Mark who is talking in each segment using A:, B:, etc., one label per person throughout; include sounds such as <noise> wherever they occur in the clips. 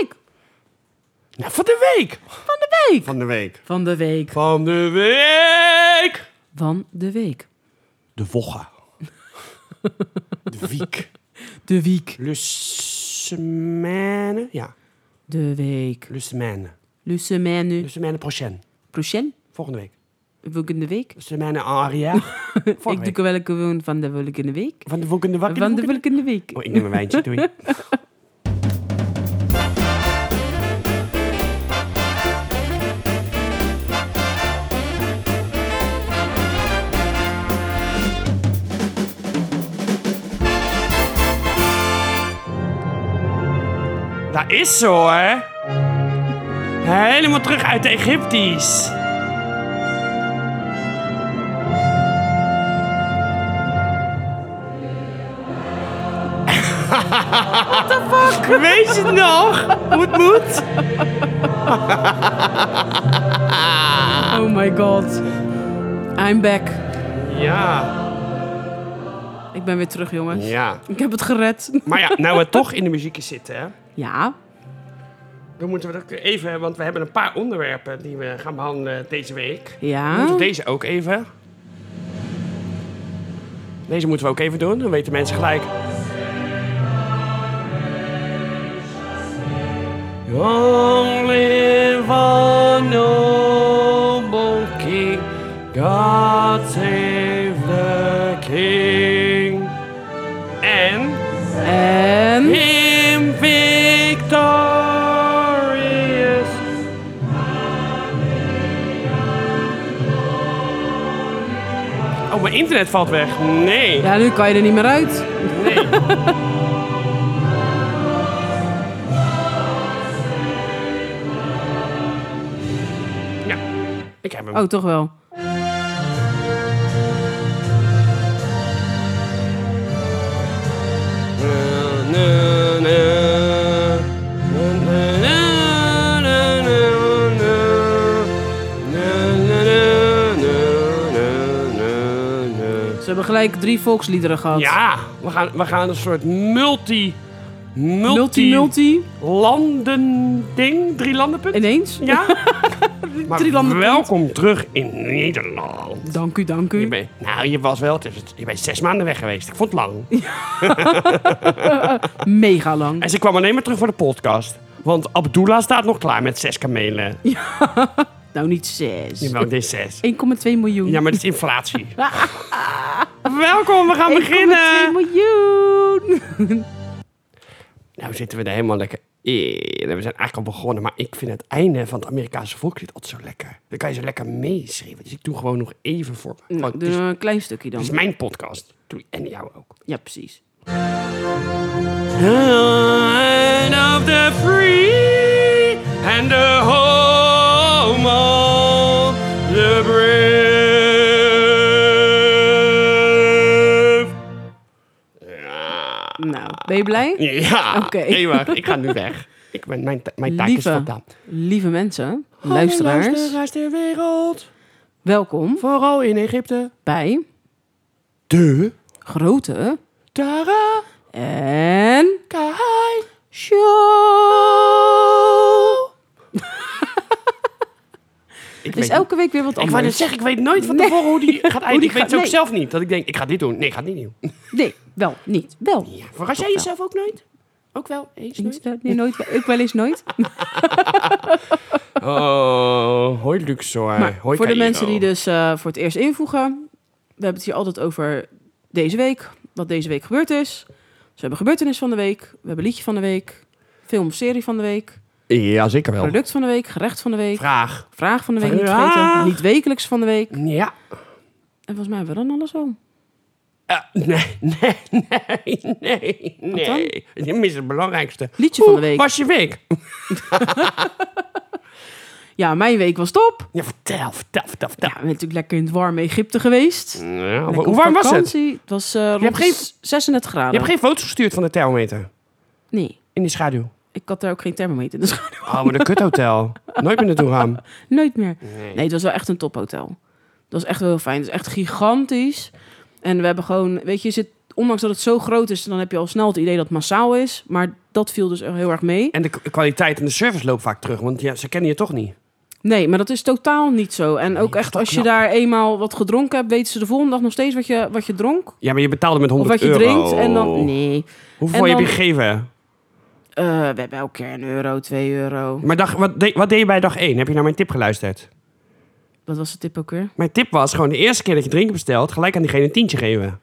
A: Ja, Nou, van de week.
B: Van de week.
A: Van de week.
B: Van de week.
A: Van de week.
B: Van de week.
A: De wogga. de wiek.
B: De week.
A: Lussemane. Ja,
B: De week.
A: Lussemane.
B: Le semaine
A: Lussemane prochaine.
B: prochaine.
A: Volgende week.
B: Volgende week.
A: Lussemane arrière.
B: <laughs> ik
A: week.
B: doe welke woon van de volgende week.
A: Van de volgende wakker.
B: Van de volgende week.
A: Oh, ik neem een wijntje, doei. Dat is zo, hè? Helemaal terug uit de Egyptisch. Weet je het nog? Hoe het moet?
B: Oh my god. I'm back.
A: Ja.
B: Ik ben weer terug, jongens.
A: Ja.
B: Ik heb het gered.
A: Maar ja, nou we toch in de muziekjes zitten, hè?
B: Ja.
A: Dan moeten we dat even, want we hebben een paar onderwerpen die we gaan behandelen deze week. We
B: Ja.
A: moeten deze ook even. Deze moeten we ook even doen, dan weten mensen gelijk. Long live our noble king, God save the king. En...
B: En...
A: Him victorious. Oh, mijn internet valt weg. Nee.
B: Ja, nu kan je er niet meer uit. <laughs>
A: nee. ja, ik heb hem.
B: Oh, toch wel. Ze hebben gelijk drie volksliederen gehad.
A: Ja, we gaan, we gaan een soort multi...
B: Multi,
A: Multi...
B: multi.
A: Landen ding? Drie landenpunt?
B: Ineens.
A: Ja. Maar
B: Drie landenpunt.
A: welkom terug in Nederland.
B: Dank u, dank u.
A: Je bent, nou, je was wel... tussen- Je bent zes maanden weg geweest. Ik vond het lang.
B: Mega lang.
A: En ze kwam alleen maar terug voor de podcast. Want Abdullah staat nog klaar met zes kamelen.
B: Nou, niet zes. 1,2
A: Jawel, dit is
B: <laughs>
A: zes.
B: miljoen.
A: Ja, maar dit is inflatie. Welkom, we gaan beginnen.
B: 1,2 miljoen.
A: Nou zitten we er helemaal lekker in. En We zijn eigenlijk al begonnen, maar ik vind het einde van het Amerikaanse volkslied altijd zo lekker. Dan kan je zo lekker meeschrijven. Dus ik doe gewoon nog even voor.
B: Nou,
A: Want
B: doe
A: het, is,
B: een klein stukje dan.
A: het is mijn podcast. Doe en jou ook.
B: Ja, precies.
A: Land of the free and the home of the brave. Ja.
B: Nou, ben je blij?
A: Ja.
B: Oké.
A: Nee, wacht, ik ga nu weg. Ik ben, mijn, ta- mijn taak is
B: Lieve,
A: vandaan.
B: lieve mensen, luisteraars,
A: Luisteraars ter wereld.
B: welkom
A: Vooral in Egypte.
B: bij
A: De.
B: Grote
A: Tara.
B: en
A: Kai.
B: Show.
A: <laughs> Ik
B: Er is
A: weet
B: elke week weer wat
A: Ik wou net
B: anders.
A: zeggen, ik weet nooit van tevoren hoe <laughs> die gaat eindigen.
B: die
A: ik weet het
B: gaat-
A: ook
B: nee.
A: zelf niet. Dat ik denk, ik ga dit doen. Nee, ik ga dit niet doen.
B: Nee, wel, niet. Wel.
A: Ja, verras jij
B: wel.
A: jezelf ook nooit? Ook wel, eens nooit?
B: Nee, nooit. Ik wel eens nooit.
A: Oh, <laughs> hoi Oh. Luxor.
B: Maar voor de mensen die dus eh, voor het eerst invoegen. We hebben het hier altijd over deze week. Wat deze week gebeurd is. Dus we hebben gebeurtenis van de week. We hebben liedje van de week. Film of serie van de week.
A: Ja, zeker wel.
B: Product van de week. Gerecht van de week.
A: Vraag.
B: Vraag van de week. Niet
A: Vraag.
B: vergeten. Niet wekelijks van de week.
A: Ja.
B: En volgens mij hebben we dan alles al.
A: Eh, nee, nee, nee, nee,
B: dan?
A: nee. Je mist het belangrijkste.
B: Liedje van de
A: Hoe
B: week.
A: was je week?
B: Ja, mijn week was top.
A: Ja, vertel, vertel,
B: Ja,
A: vertel, vertel.
B: we zijn natuurlijk lekker in het warme Egypte geweest.
A: Ja,
B: Lekker
A: hoe
B: op
A: warm was het?
B: vakantie. Het was eh, rond
A: hebt
B: de
A: geen-
B: s- 36 graden.
A: Je hebt geen foto's gestuurd van de thermometer.
B: Nee,
A: In die schaduw.
B: ik had daar ook geen thermometer. Dus <laughs>
A: Oh, maar een kuthotel. Nooit meer naartoe gaan.
B: nooit meer. Nee, het was wel echt een tophotel. Dat was echt wel heel fijn. Het is echt gigantisch. En we hebben gewoon, weet je, je zit ondanks dat het zo groot is, dan heb je al snel het idee dat het massaal is. Maar dat viel dus heel erg mee.
A: En de k- kwaliteit en de service loopt vaak terug, want ja, ze kennen je toch niet.
B: Nee, maar dat is totaal niet zo. En
A: Nee,
B: ook
A: dat is
B: echt
A: wel
B: als je
A: knap.
B: daar eenmaal wat gedronken hebt, weten ze de volgende dag nog steeds wat je, wat je dronk.
A: Ja, maar je betaalde met
B: Of
A: 100
B: wat je
A: euro. Oh.
B: drinkt. En dan. Nee.
A: Hoeveel
B: en
A: heb je
B: dan-
A: gegeven?
B: Eh, we hebben elke keer een euro, twee euro.
A: Maar dag, wat, deed- wat deed je bij dag 1? Heb je naar mijn tip geluisterd?
B: Wat was de tip ook weer?
A: Mijn tip was gewoon de eerste keer dat je drinken bestelt, gelijk aan diegene een tientje geven.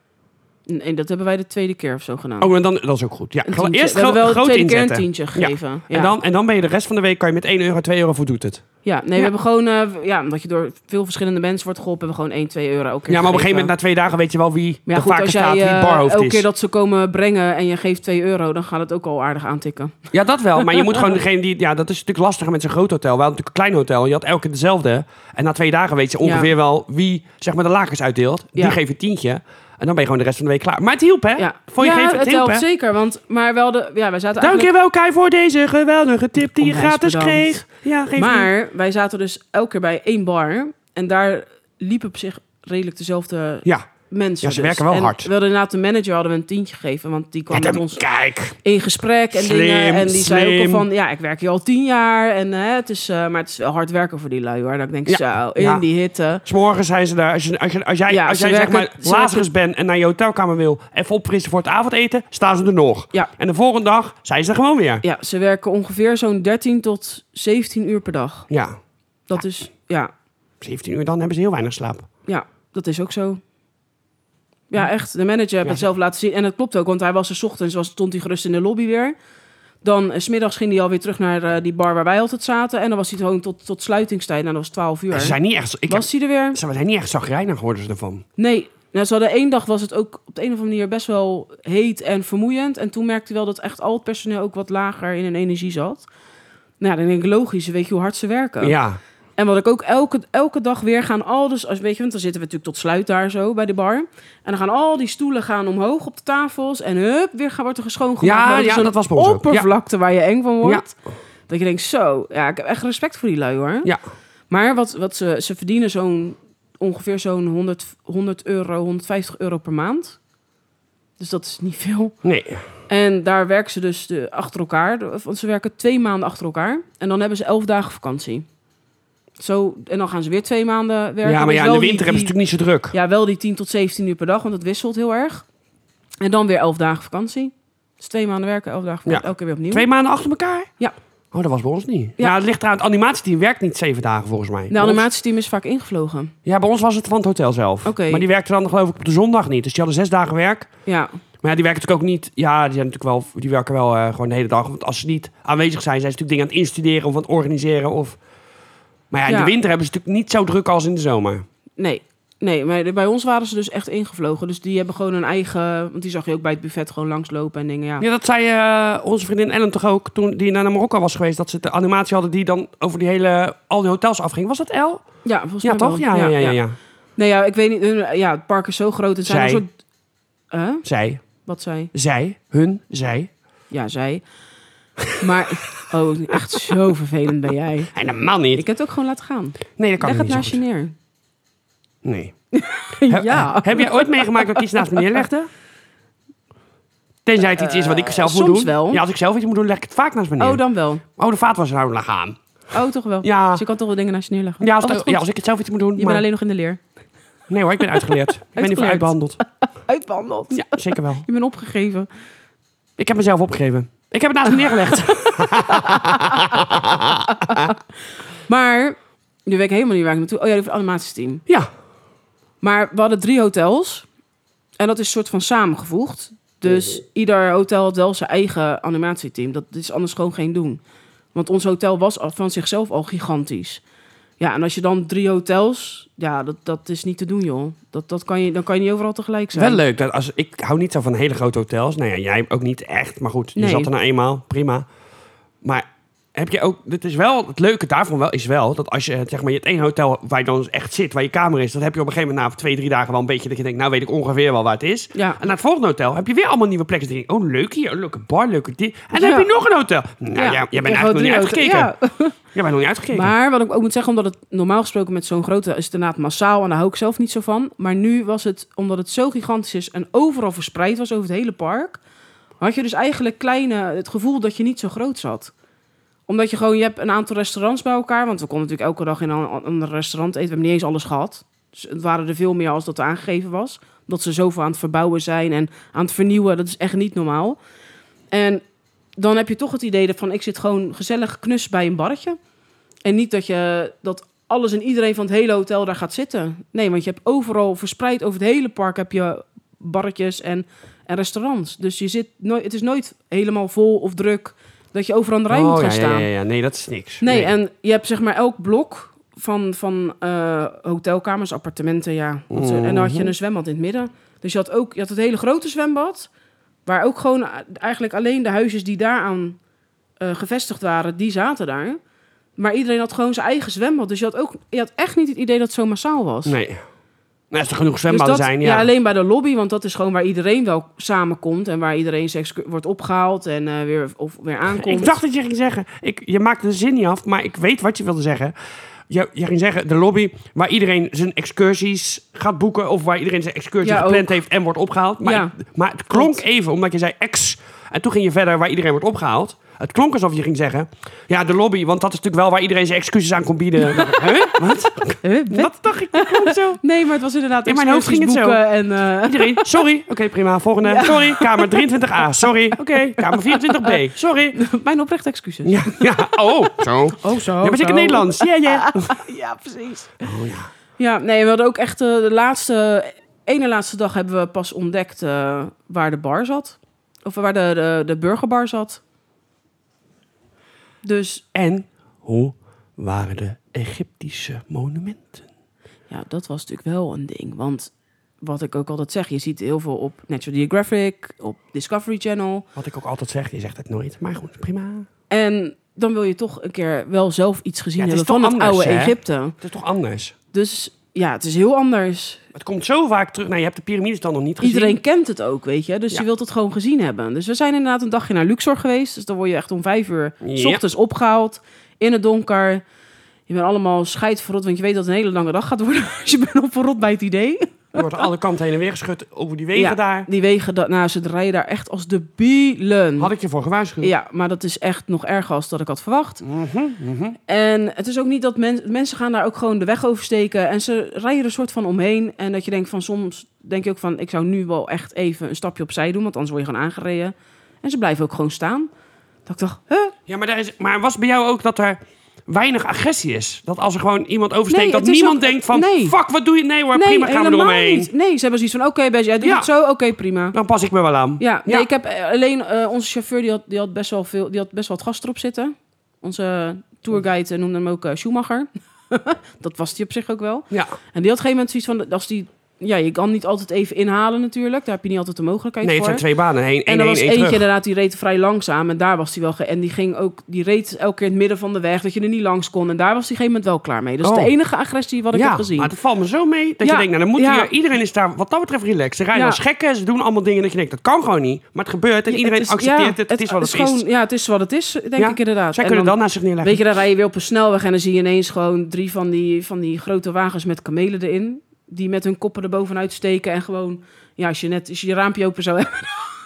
B: Nee, dat hebben wij de tweede keer of zo gedaan.
A: Oh, en dan, dat is ook goed. Ja,
B: Een
A: gewoon
B: tientje.
A: eerst
B: we hebben wel de
A: gro- groot
B: tweede
A: inzetten.
B: keer een tientje gegeven. Ja,
A: En, dan, en dan ben je de rest van de week kan je met 1 euro, 2 euro voor doet het.
B: ja nee, we hebben gewoon... eh, ja, omdat je door veel verschillende mensen wordt geholpen... hebben we gewoon 1, 2 euro elke keer
A: Ja, maar op een
B: gegeven.
A: gegeven moment, na twee dagen, weet je wel wie
B: Maar ja,
A: de
B: goed,
A: vaker
B: als
A: staat,
B: jij
A: wie het
B: eh,
A: barhoofd
B: elke
A: is.
B: keer dat ze komen brengen en je geeft 2 euro... dan gaat het ook al aardig aantikken.
A: Ja, dat wel. Maar je
B: <laughs>
A: moet gewoon degene die... Ja, dat is natuurlijk lastiger met zo'n groot hotel. We hadden natuurlijk een klein hotel. Je had elke keer dezelfde. En na twee dagen weet je ongeveer wel wie zeg maar, de lakens uitdeelt.
B: Ja.
A: Die geeft een tientje. En dan ben je gewoon de rest van de week klaar. Maar het hielp, hè?
B: Ja,
A: Vond je
B: ja
A: geen- het
B: het
A: hielp,
B: helpt
A: hè?
B: zeker. Want, maar wel de, ja, wij zaten
A: Dank
B: eigenlijk...
A: je wel, Kai, voor deze geweldige tip die je
B: Onwijs
A: gratis
B: bedankt.
A: kreeg. Ja, geen
B: Maar wij zaten dus elke keer bij één bar. En daar liepen op zich redelijk dezelfde
A: Ja.
B: mensen.
A: Ja, ze
B: dus.
A: werken wel
B: En
A: hard.
B: We hadden inderdaad de manager hadden we een tientje gegeven. Want die kwam
A: Ja,
B: met
A: dan-
B: ons
A: Kijk.
B: in gesprek en
A: Slim,
B: dingen. En die zei ook al
A: slim.
B: van, ja, ik werk hier al tien jaar. En, hè, het is, eh, maar het is wel hard werken voor die lui, hoor. Dat ik denk, zo, in
A: ja.
B: die hitte.
A: S'morgens zijn ze daar. Als, je, als, je- als jij,
B: Ja,
A: als
B: ze
A: jij zeg
B: werken-
A: maar
B: ze
A: Lazarus
B: werken-
A: bent en naar je hotelkamer wil... even opfrissen voor het avondeten, staan ze er nog.
B: Ja.
A: En de volgende dag zijn ze er gewoon weer.
B: Ja, ze werken ongeveer zo'n 13 tot 17 uur per dag.
A: Ja.
B: Dat is, ja,
A: 17 uur, dan hebben ze heel weinig slaap.
B: ja, dat is ook zo. Ja, echt. De manager heeft het zelf laten zien. En dat klopt ook, want hij was er 's ochtends, was, stond hij gerust in de lobby weer. Dan eh, 's middags ging hij alweer terug naar eh, die bar waar wij altijd zaten. En dan was hij gewoon tot, tot sluitingstijd. En dat was 12 uur.
A: En Ze zijn niet echt, ik
B: was hij er weer?
A: heb- ze zijn niet echt zagrijnig geworden ze ervan.
B: Nee, nou, ze hadden één dag was het ook op de een of andere manier best wel heet en vermoeiend. En toen merkte je wel dat echt al het personeel ook wat lager in hun energie zat. Nou, ja, dan denk ik logisch, weet je hoe hard ze werken.
A: Ja.
B: En wat ik ook elke, elke dag weer gaan al dus, als, weet je, want dan zitten we natuurlijk tot sluit daar zo bij de bar. En dan gaan al die stoelen gaan omhoog op de tafels en hup, weer gaan, wordt er geschoongemaakt.
A: Ja,
B: Nou,
A: ja,
B: zo'n
A: dat was bij ons ook. Ja.
B: oppervlakte waar je eng van wordt. Dat je denkt, zo, ja, ik heb echt respect voor die lui hoor.
A: Ja.
B: Maar wat, wat ze, ze verdienen zo'n ongeveer zo'n 100, 100 euro, 150 euro per maand. Dus dat is niet veel.
A: Nee.
B: En daar werken ze dus de, achter elkaar. De- Want ze werken twee maanden achter elkaar. En dan hebben ze elf dagen vakantie. Zo, en dan gaan ze weer twee maanden werken.
A: ja, maar
B: Dus
A: ja, in
B: wel
A: de winter
B: die-
A: hebben ze
B: die-
A: natuurlijk niet zo druk.
B: Ja, wel die 10 tot 17 uur per dag, want dat wisselt heel erg. En dan weer elf dagen vakantie. Dus twee maanden werken, elf dagen vakantie,
A: Ja.
B: elke keer weer opnieuw.
A: Twee maanden achter elkaar?
B: Ja.
A: Oh, dat was bij ons niet.
B: Ja.
A: Ja, het ligt eraan. Het animatieteam werkt niet zeven dagen volgens mij.
B: de
A: Bij ons-
B: animatieteam is vaak ingevlogen.
A: Ja, bij ons was het van het hotel zelf.
B: Oké.
A: Maar die werkte dan geloof ik op de zondag niet. Dus die hadden zes dagen werk.
B: Ja,
A: Maar ja, die werken natuurlijk ook niet... Ja, die, zijn natuurlijk wel, die werken wel eh, gewoon de hele dag. Want als ze niet aanwezig zijn, zijn ze natuurlijk dingen aan het instuderen of aan het organiseren. Of... Maar ja, in
B: Ja.
A: de winter hebben ze natuurlijk niet zo druk als in de zomer.
B: Nee. Nee, maar bij ons waren ze dus echt ingevlogen. Dus die hebben gewoon een eigen... Want die zag je ook bij het buffet gewoon langslopen en dingen, ja.
A: Ja, dat zei eh, onze vriendin Ellen toch ook toen die naar Marokko was geweest. Dat ze de animatie hadden die dan over die hele, al die hotels afging. Was dat El?
B: Ja, volgens
A: Ja,
B: mij
A: toch?
B: wel.
A: Ja, ja, ja, ja, ja.
B: Nee, Nou ja, ik weet niet... hun- Ja, het park is zo groot. Het zijn
A: Zij.
B: een soort... Huh?
A: Zij,
B: Wat zij?
A: zij, hun, zij.
B: Ja, zij. Maar... <laughs> Oh, echt zo vervelend ben jij.
A: En de man niet.
B: Ik heb het ook gewoon laten gaan.
A: Nee, dat kan
B: Leg het
A: ik niet zo
B: naast je
A: goed.
B: neer.
A: Nee. He-
B: <laughs> ja.
A: Heb jij ooit meegemaakt dat ik iets naast me <laughs> neerlegde? Tenzij het iets is wat ik zelf moet
B: Eh, soms
A: doen.
B: wel.
A: Ja, als ik zelf iets moet doen, leg ik het vaak naast me neer.
B: Oh, dan wel.
A: Oh, de vaat was er nou aan.
B: Oh, toch wel.
A: Ja.
B: Dus je kan toch wel dingen naast je neerleggen.
A: Ja als,
B: Oh,
A: het-
B: wat goed.
A: ja, als ik het zelf iets moet doen.
B: Je
A: maar-
B: bent alleen nog in de leer.
A: Nee hoor, ik ben
B: <laughs>
A: uitgeleerd. ik ben hiervoor
B: Uitgeleerd.
A: uitbehandeld.
B: Uitbehandeld.
A: Ja, zeker wel.
B: Je bent opgegeven.
A: Ik heb mezelf opgegeven. Ik heb
B: <laughs>
A: het naast me <laughs> neergelegd.
B: Maar... Nu weet ik helemaal niet waar ik naartoe... Oh ja, over het animatiesteam.
A: Ja.
B: Maar we hadden drie hotels. En dat is soort van samengevoegd. Dus ieder hotel had wel zijn eigen animatieteam. Dat is anders gewoon geen doen. Want ons hotel was al van zichzelf al gigantisch. Ja, en als je dan drie hotels... Ja, dat, dat is niet te doen, joh. Dat, dat kan je, dan kan je niet overal tegelijk zijn.
A: Wel leuk. Dat als, ik hou niet zo van hele grote hotels. Nou ja, jij ook niet echt. Maar goed, je
B: Nee.
A: zat er nou eenmaal. Prima. Maar heb je ook, dit is wel, het leuke daarvan wel, is wel dat als je eh, zeg maar, je het één hotel waar je dan echt zit, waar je kamer is, dat heb je op een gegeven moment na twee, drie dagen wel een beetje dat je denkt, nou weet ik ongeveer wel waar het is.
B: Ja.
A: En naar het volgende hotel heb je weer allemaal nieuwe plekken. Dan denk je, oh leuk hier, oh, leuke bar, leuke dit. En dan
B: Ja.
A: heb je nog een hotel. Nou ja, jij bent
B: Ik
A: eigenlijk nog niet
B: wou drie
A: uitgekeken.
B: hotels- ja.
A: Jij bent nog niet uitgekeken.
B: Maar wat ik ook moet zeggen, omdat het normaal gesproken met zo'n grote is het inderdaad massaal en daar hou ik zelf niet zo van. Maar nu was het, omdat het zo gigantisch is en overal verspreid was over het hele park, had je dus eigenlijk kleine, het gevoel dat je niet zo groot zat. Omdat je gewoon, je hebt een aantal restaurants bij elkaar, want we konden natuurlijk elke dag in een ander restaurant eten. We hebben niet eens alles gehad. Dus het waren er veel meer als dat er aangegeven was. Dat ze zoveel aan het verbouwen zijn en aan het vernieuwen, dat is echt niet normaal. En dan heb je toch het idee dat van ik zit gewoon gezellig knus bij een barretje. En niet dat je dat alles en iedereen van het hele hotel daar gaat zitten. Nee, want je hebt overal verspreid over het hele park heb je barretjes en, en restaurants. Dus je zit nooit, het is nooit helemaal vol of druk dat je overal aan de rij moet
A: Oh,
B: gaan
A: ja,
B: staan.
A: Ja, ja, ja. nee, dat is niks.
B: Nee, en je hebt zeg maar elk blok van, van eh, hotelkamers, appartementen, ja. Want ze- En dan had je
A: Mhm.
B: een zwembad in het midden. Dus je had ook je had het hele grote zwembad, waar ook gewoon eh, eigenlijk alleen de huisjes die daaraan eh, gevestigd waren, die zaten daar. Maar iedereen had gewoon zijn eigen zwembad. Dus je had, ook, je had echt niet het idee dat het zo massaal was.
A: Nee. Nou, als er genoeg
B: Dus
A: zwembaden
B: dat-
A: zijn, ja.
B: alleen bij de lobby, want dat is gewoon waar iedereen wel samenkomt. En waar iedereen seks wordt opgehaald en eh, weer, of weer aankomt.
A: Ik dacht dat je ging zeggen, ik, je maakte de zin niet af, maar ik weet wat je wilde zeggen. Je, je ging zeggen, de lobby waar iedereen zijn excursies gaat boeken... of waar iedereen zijn excursie
B: Ja,
A: gepland
B: ook.
A: heeft en wordt opgehaald. Maar,
B: Ja.
A: ik- maar het klonk even, omdat je zei ex... en toen ging je verder waar iedereen wordt opgehaald. Het klonk alsof je ging zeggen, ja, de lobby... want dat is natuurlijk wel waar iedereen zijn excuses aan kon
B: <laughs>
A: bieden. Huh? Wat?
B: Huh, wat?
A: Dat dacht ik, dat klonk zo.
B: Nee, maar het was inderdaad
A: In mijn hoofd ging het zo.
B: excursies boeken En,
A: <laughs>
B: eh,
A: Iedereen, sorry. Oké, prima. Volgende. Sorry. Kamer 23a. Sorry. Oké. Kamer 24b. Sorry.
B: <laughs> mijn oprechte excuses.
A: Ja, ja. Oh, zo. Je
B: Oh zo. Ah,
A: bent zeker Nederlands. Ja, ja.
B: ja, precies. ja. nee, we hadden ook echt eh, de laatste... ene laatste dag hebben we pas ontdekt eh, waar de bar zat. Of waar de, de, de burgerbar zat. Dus
A: En hoe waren de Egyptische monumenten?
B: ja, dat was natuurlijk wel een ding. Want wat ik ook altijd zeg, je ziet heel veel op Natural Geographic, op Discovery Channel.
A: Wat ik ook altijd zeg, je zegt het nooit. Maar goed, prima.
B: En dan wil je toch een keer wel zelf iets gezien
A: Ja, het is
B: hebben van
A: toch
B: het
A: anders,
B: oude
A: hè?
B: Egypte.
A: Het is toch anders?
B: Dus ja, het is heel anders.
A: Het komt zo vaak terug. Nou, je hebt de piramides dan nog niet gezien.
B: Iedereen kent het ook, weet je. Dus
A: Ja.
B: je wilt het gewoon gezien hebben. Dus we zijn inderdaad een dagje naar Luxor geweest. Dus dan word je echt om vijf uur s
A: Ja.
B: ochtends opgehaald. In het donker. Je bent allemaal scheidverrot. Want je weet dat het een hele lange dag gaat worden. <laughs> Dus je bent opverrot bij het idee.
A: Er wordt aan alle kanten heen en weer geschud over die wegen
B: Ja,
A: daar.
B: Die wegen, da- nou, ze rijden daar echt als de bielen.
A: Had ik je voor gewaarschuwd.
B: Ja, maar dat is echt nog erger als dat ik had verwacht.
A: Mhm, mhm.
B: En het is ook niet dat men- mensen gaan daar ook gewoon de weg oversteken. En ze rijden er een soort van omheen. En dat je denkt van soms denk je ook van ik zou nu wel echt even een stapje opzij doen. Want anders word je gewoon aangereden. En ze blijven ook gewoon staan. Dat ik dacht, huh?
A: Ja, maar, daar is, maar was bij jou ook dat er weinig agressie is? Dat als er gewoon iemand oversteekt,
B: Nee,
A: dat
B: het is
A: niemand
B: ook-
A: denkt van...
B: nee.
A: Fuck, wat doe je? Nee hoor, prima, gaan we er
B: helemaal
A: omheen.
B: niet. Nee, ze hebben zoiets van oké, best, jij doet
A: Ja.
B: het zo, oké, prima.
A: Dan pas ik me wel aan.
B: Ja, nee,
A: Ja.
B: ik heb eh, alleen eh, onze chauffeur die had, die had best wel veel, die had best wel wat gas erop zitten. Onze tourguide eh, noemde hem ook eh, Schumacher. <laughs> dat was hij op zich ook wel.
A: Ja.
B: En die had geen moment zoiets van, als die, ja, je kan niet altijd even inhalen natuurlijk. Daar heb je niet altijd de mogelijkheid
A: Nee, het
B: voor.
A: zijn twee banen. Heen,
B: en
A: en
B: er
A: één,
B: was
A: één,
B: eentje
A: terug.
B: inderdaad, die reed vrij langzaam. En daar was hij wel... Ge- en die ging ook... Die reed elke keer in het midden van de weg, dat je er niet langs kon. En daar was hij geen moment wel klaar mee. Dat is
A: Oh.
B: de enige agressie wat ik
A: ja,
B: heb gezien.
A: maar het valt me zo mee dat je
B: Ja,
A: denkt, nou dan moet
B: ja.
A: hier... Iedereen is daar wat dat betreft relaxed. Ze rijden
B: Ja.
A: als gekken, ze doen allemaal dingen dat je denkt, dat kan gewoon niet. Maar het gebeurt en
B: Ja,
A: iedereen
B: het is- ja,
A: accepteert het. Het, is wat het is.
B: gewoon- ja, het is wat het is, denk
A: Ja,
B: ik inderdaad.
A: Zij
B: En
A: kunnen
B: dan-
A: dan naast zich neerleggen.
B: Weet je, dan rij je weer op een snelweg en dan zie je ineens gewoon drie van die, van die grote wagens met kamelen erin. Die met hun koppen erbovenuit steken en gewoon, ja, als je net als je, je raampje open zou <laughs> hebben,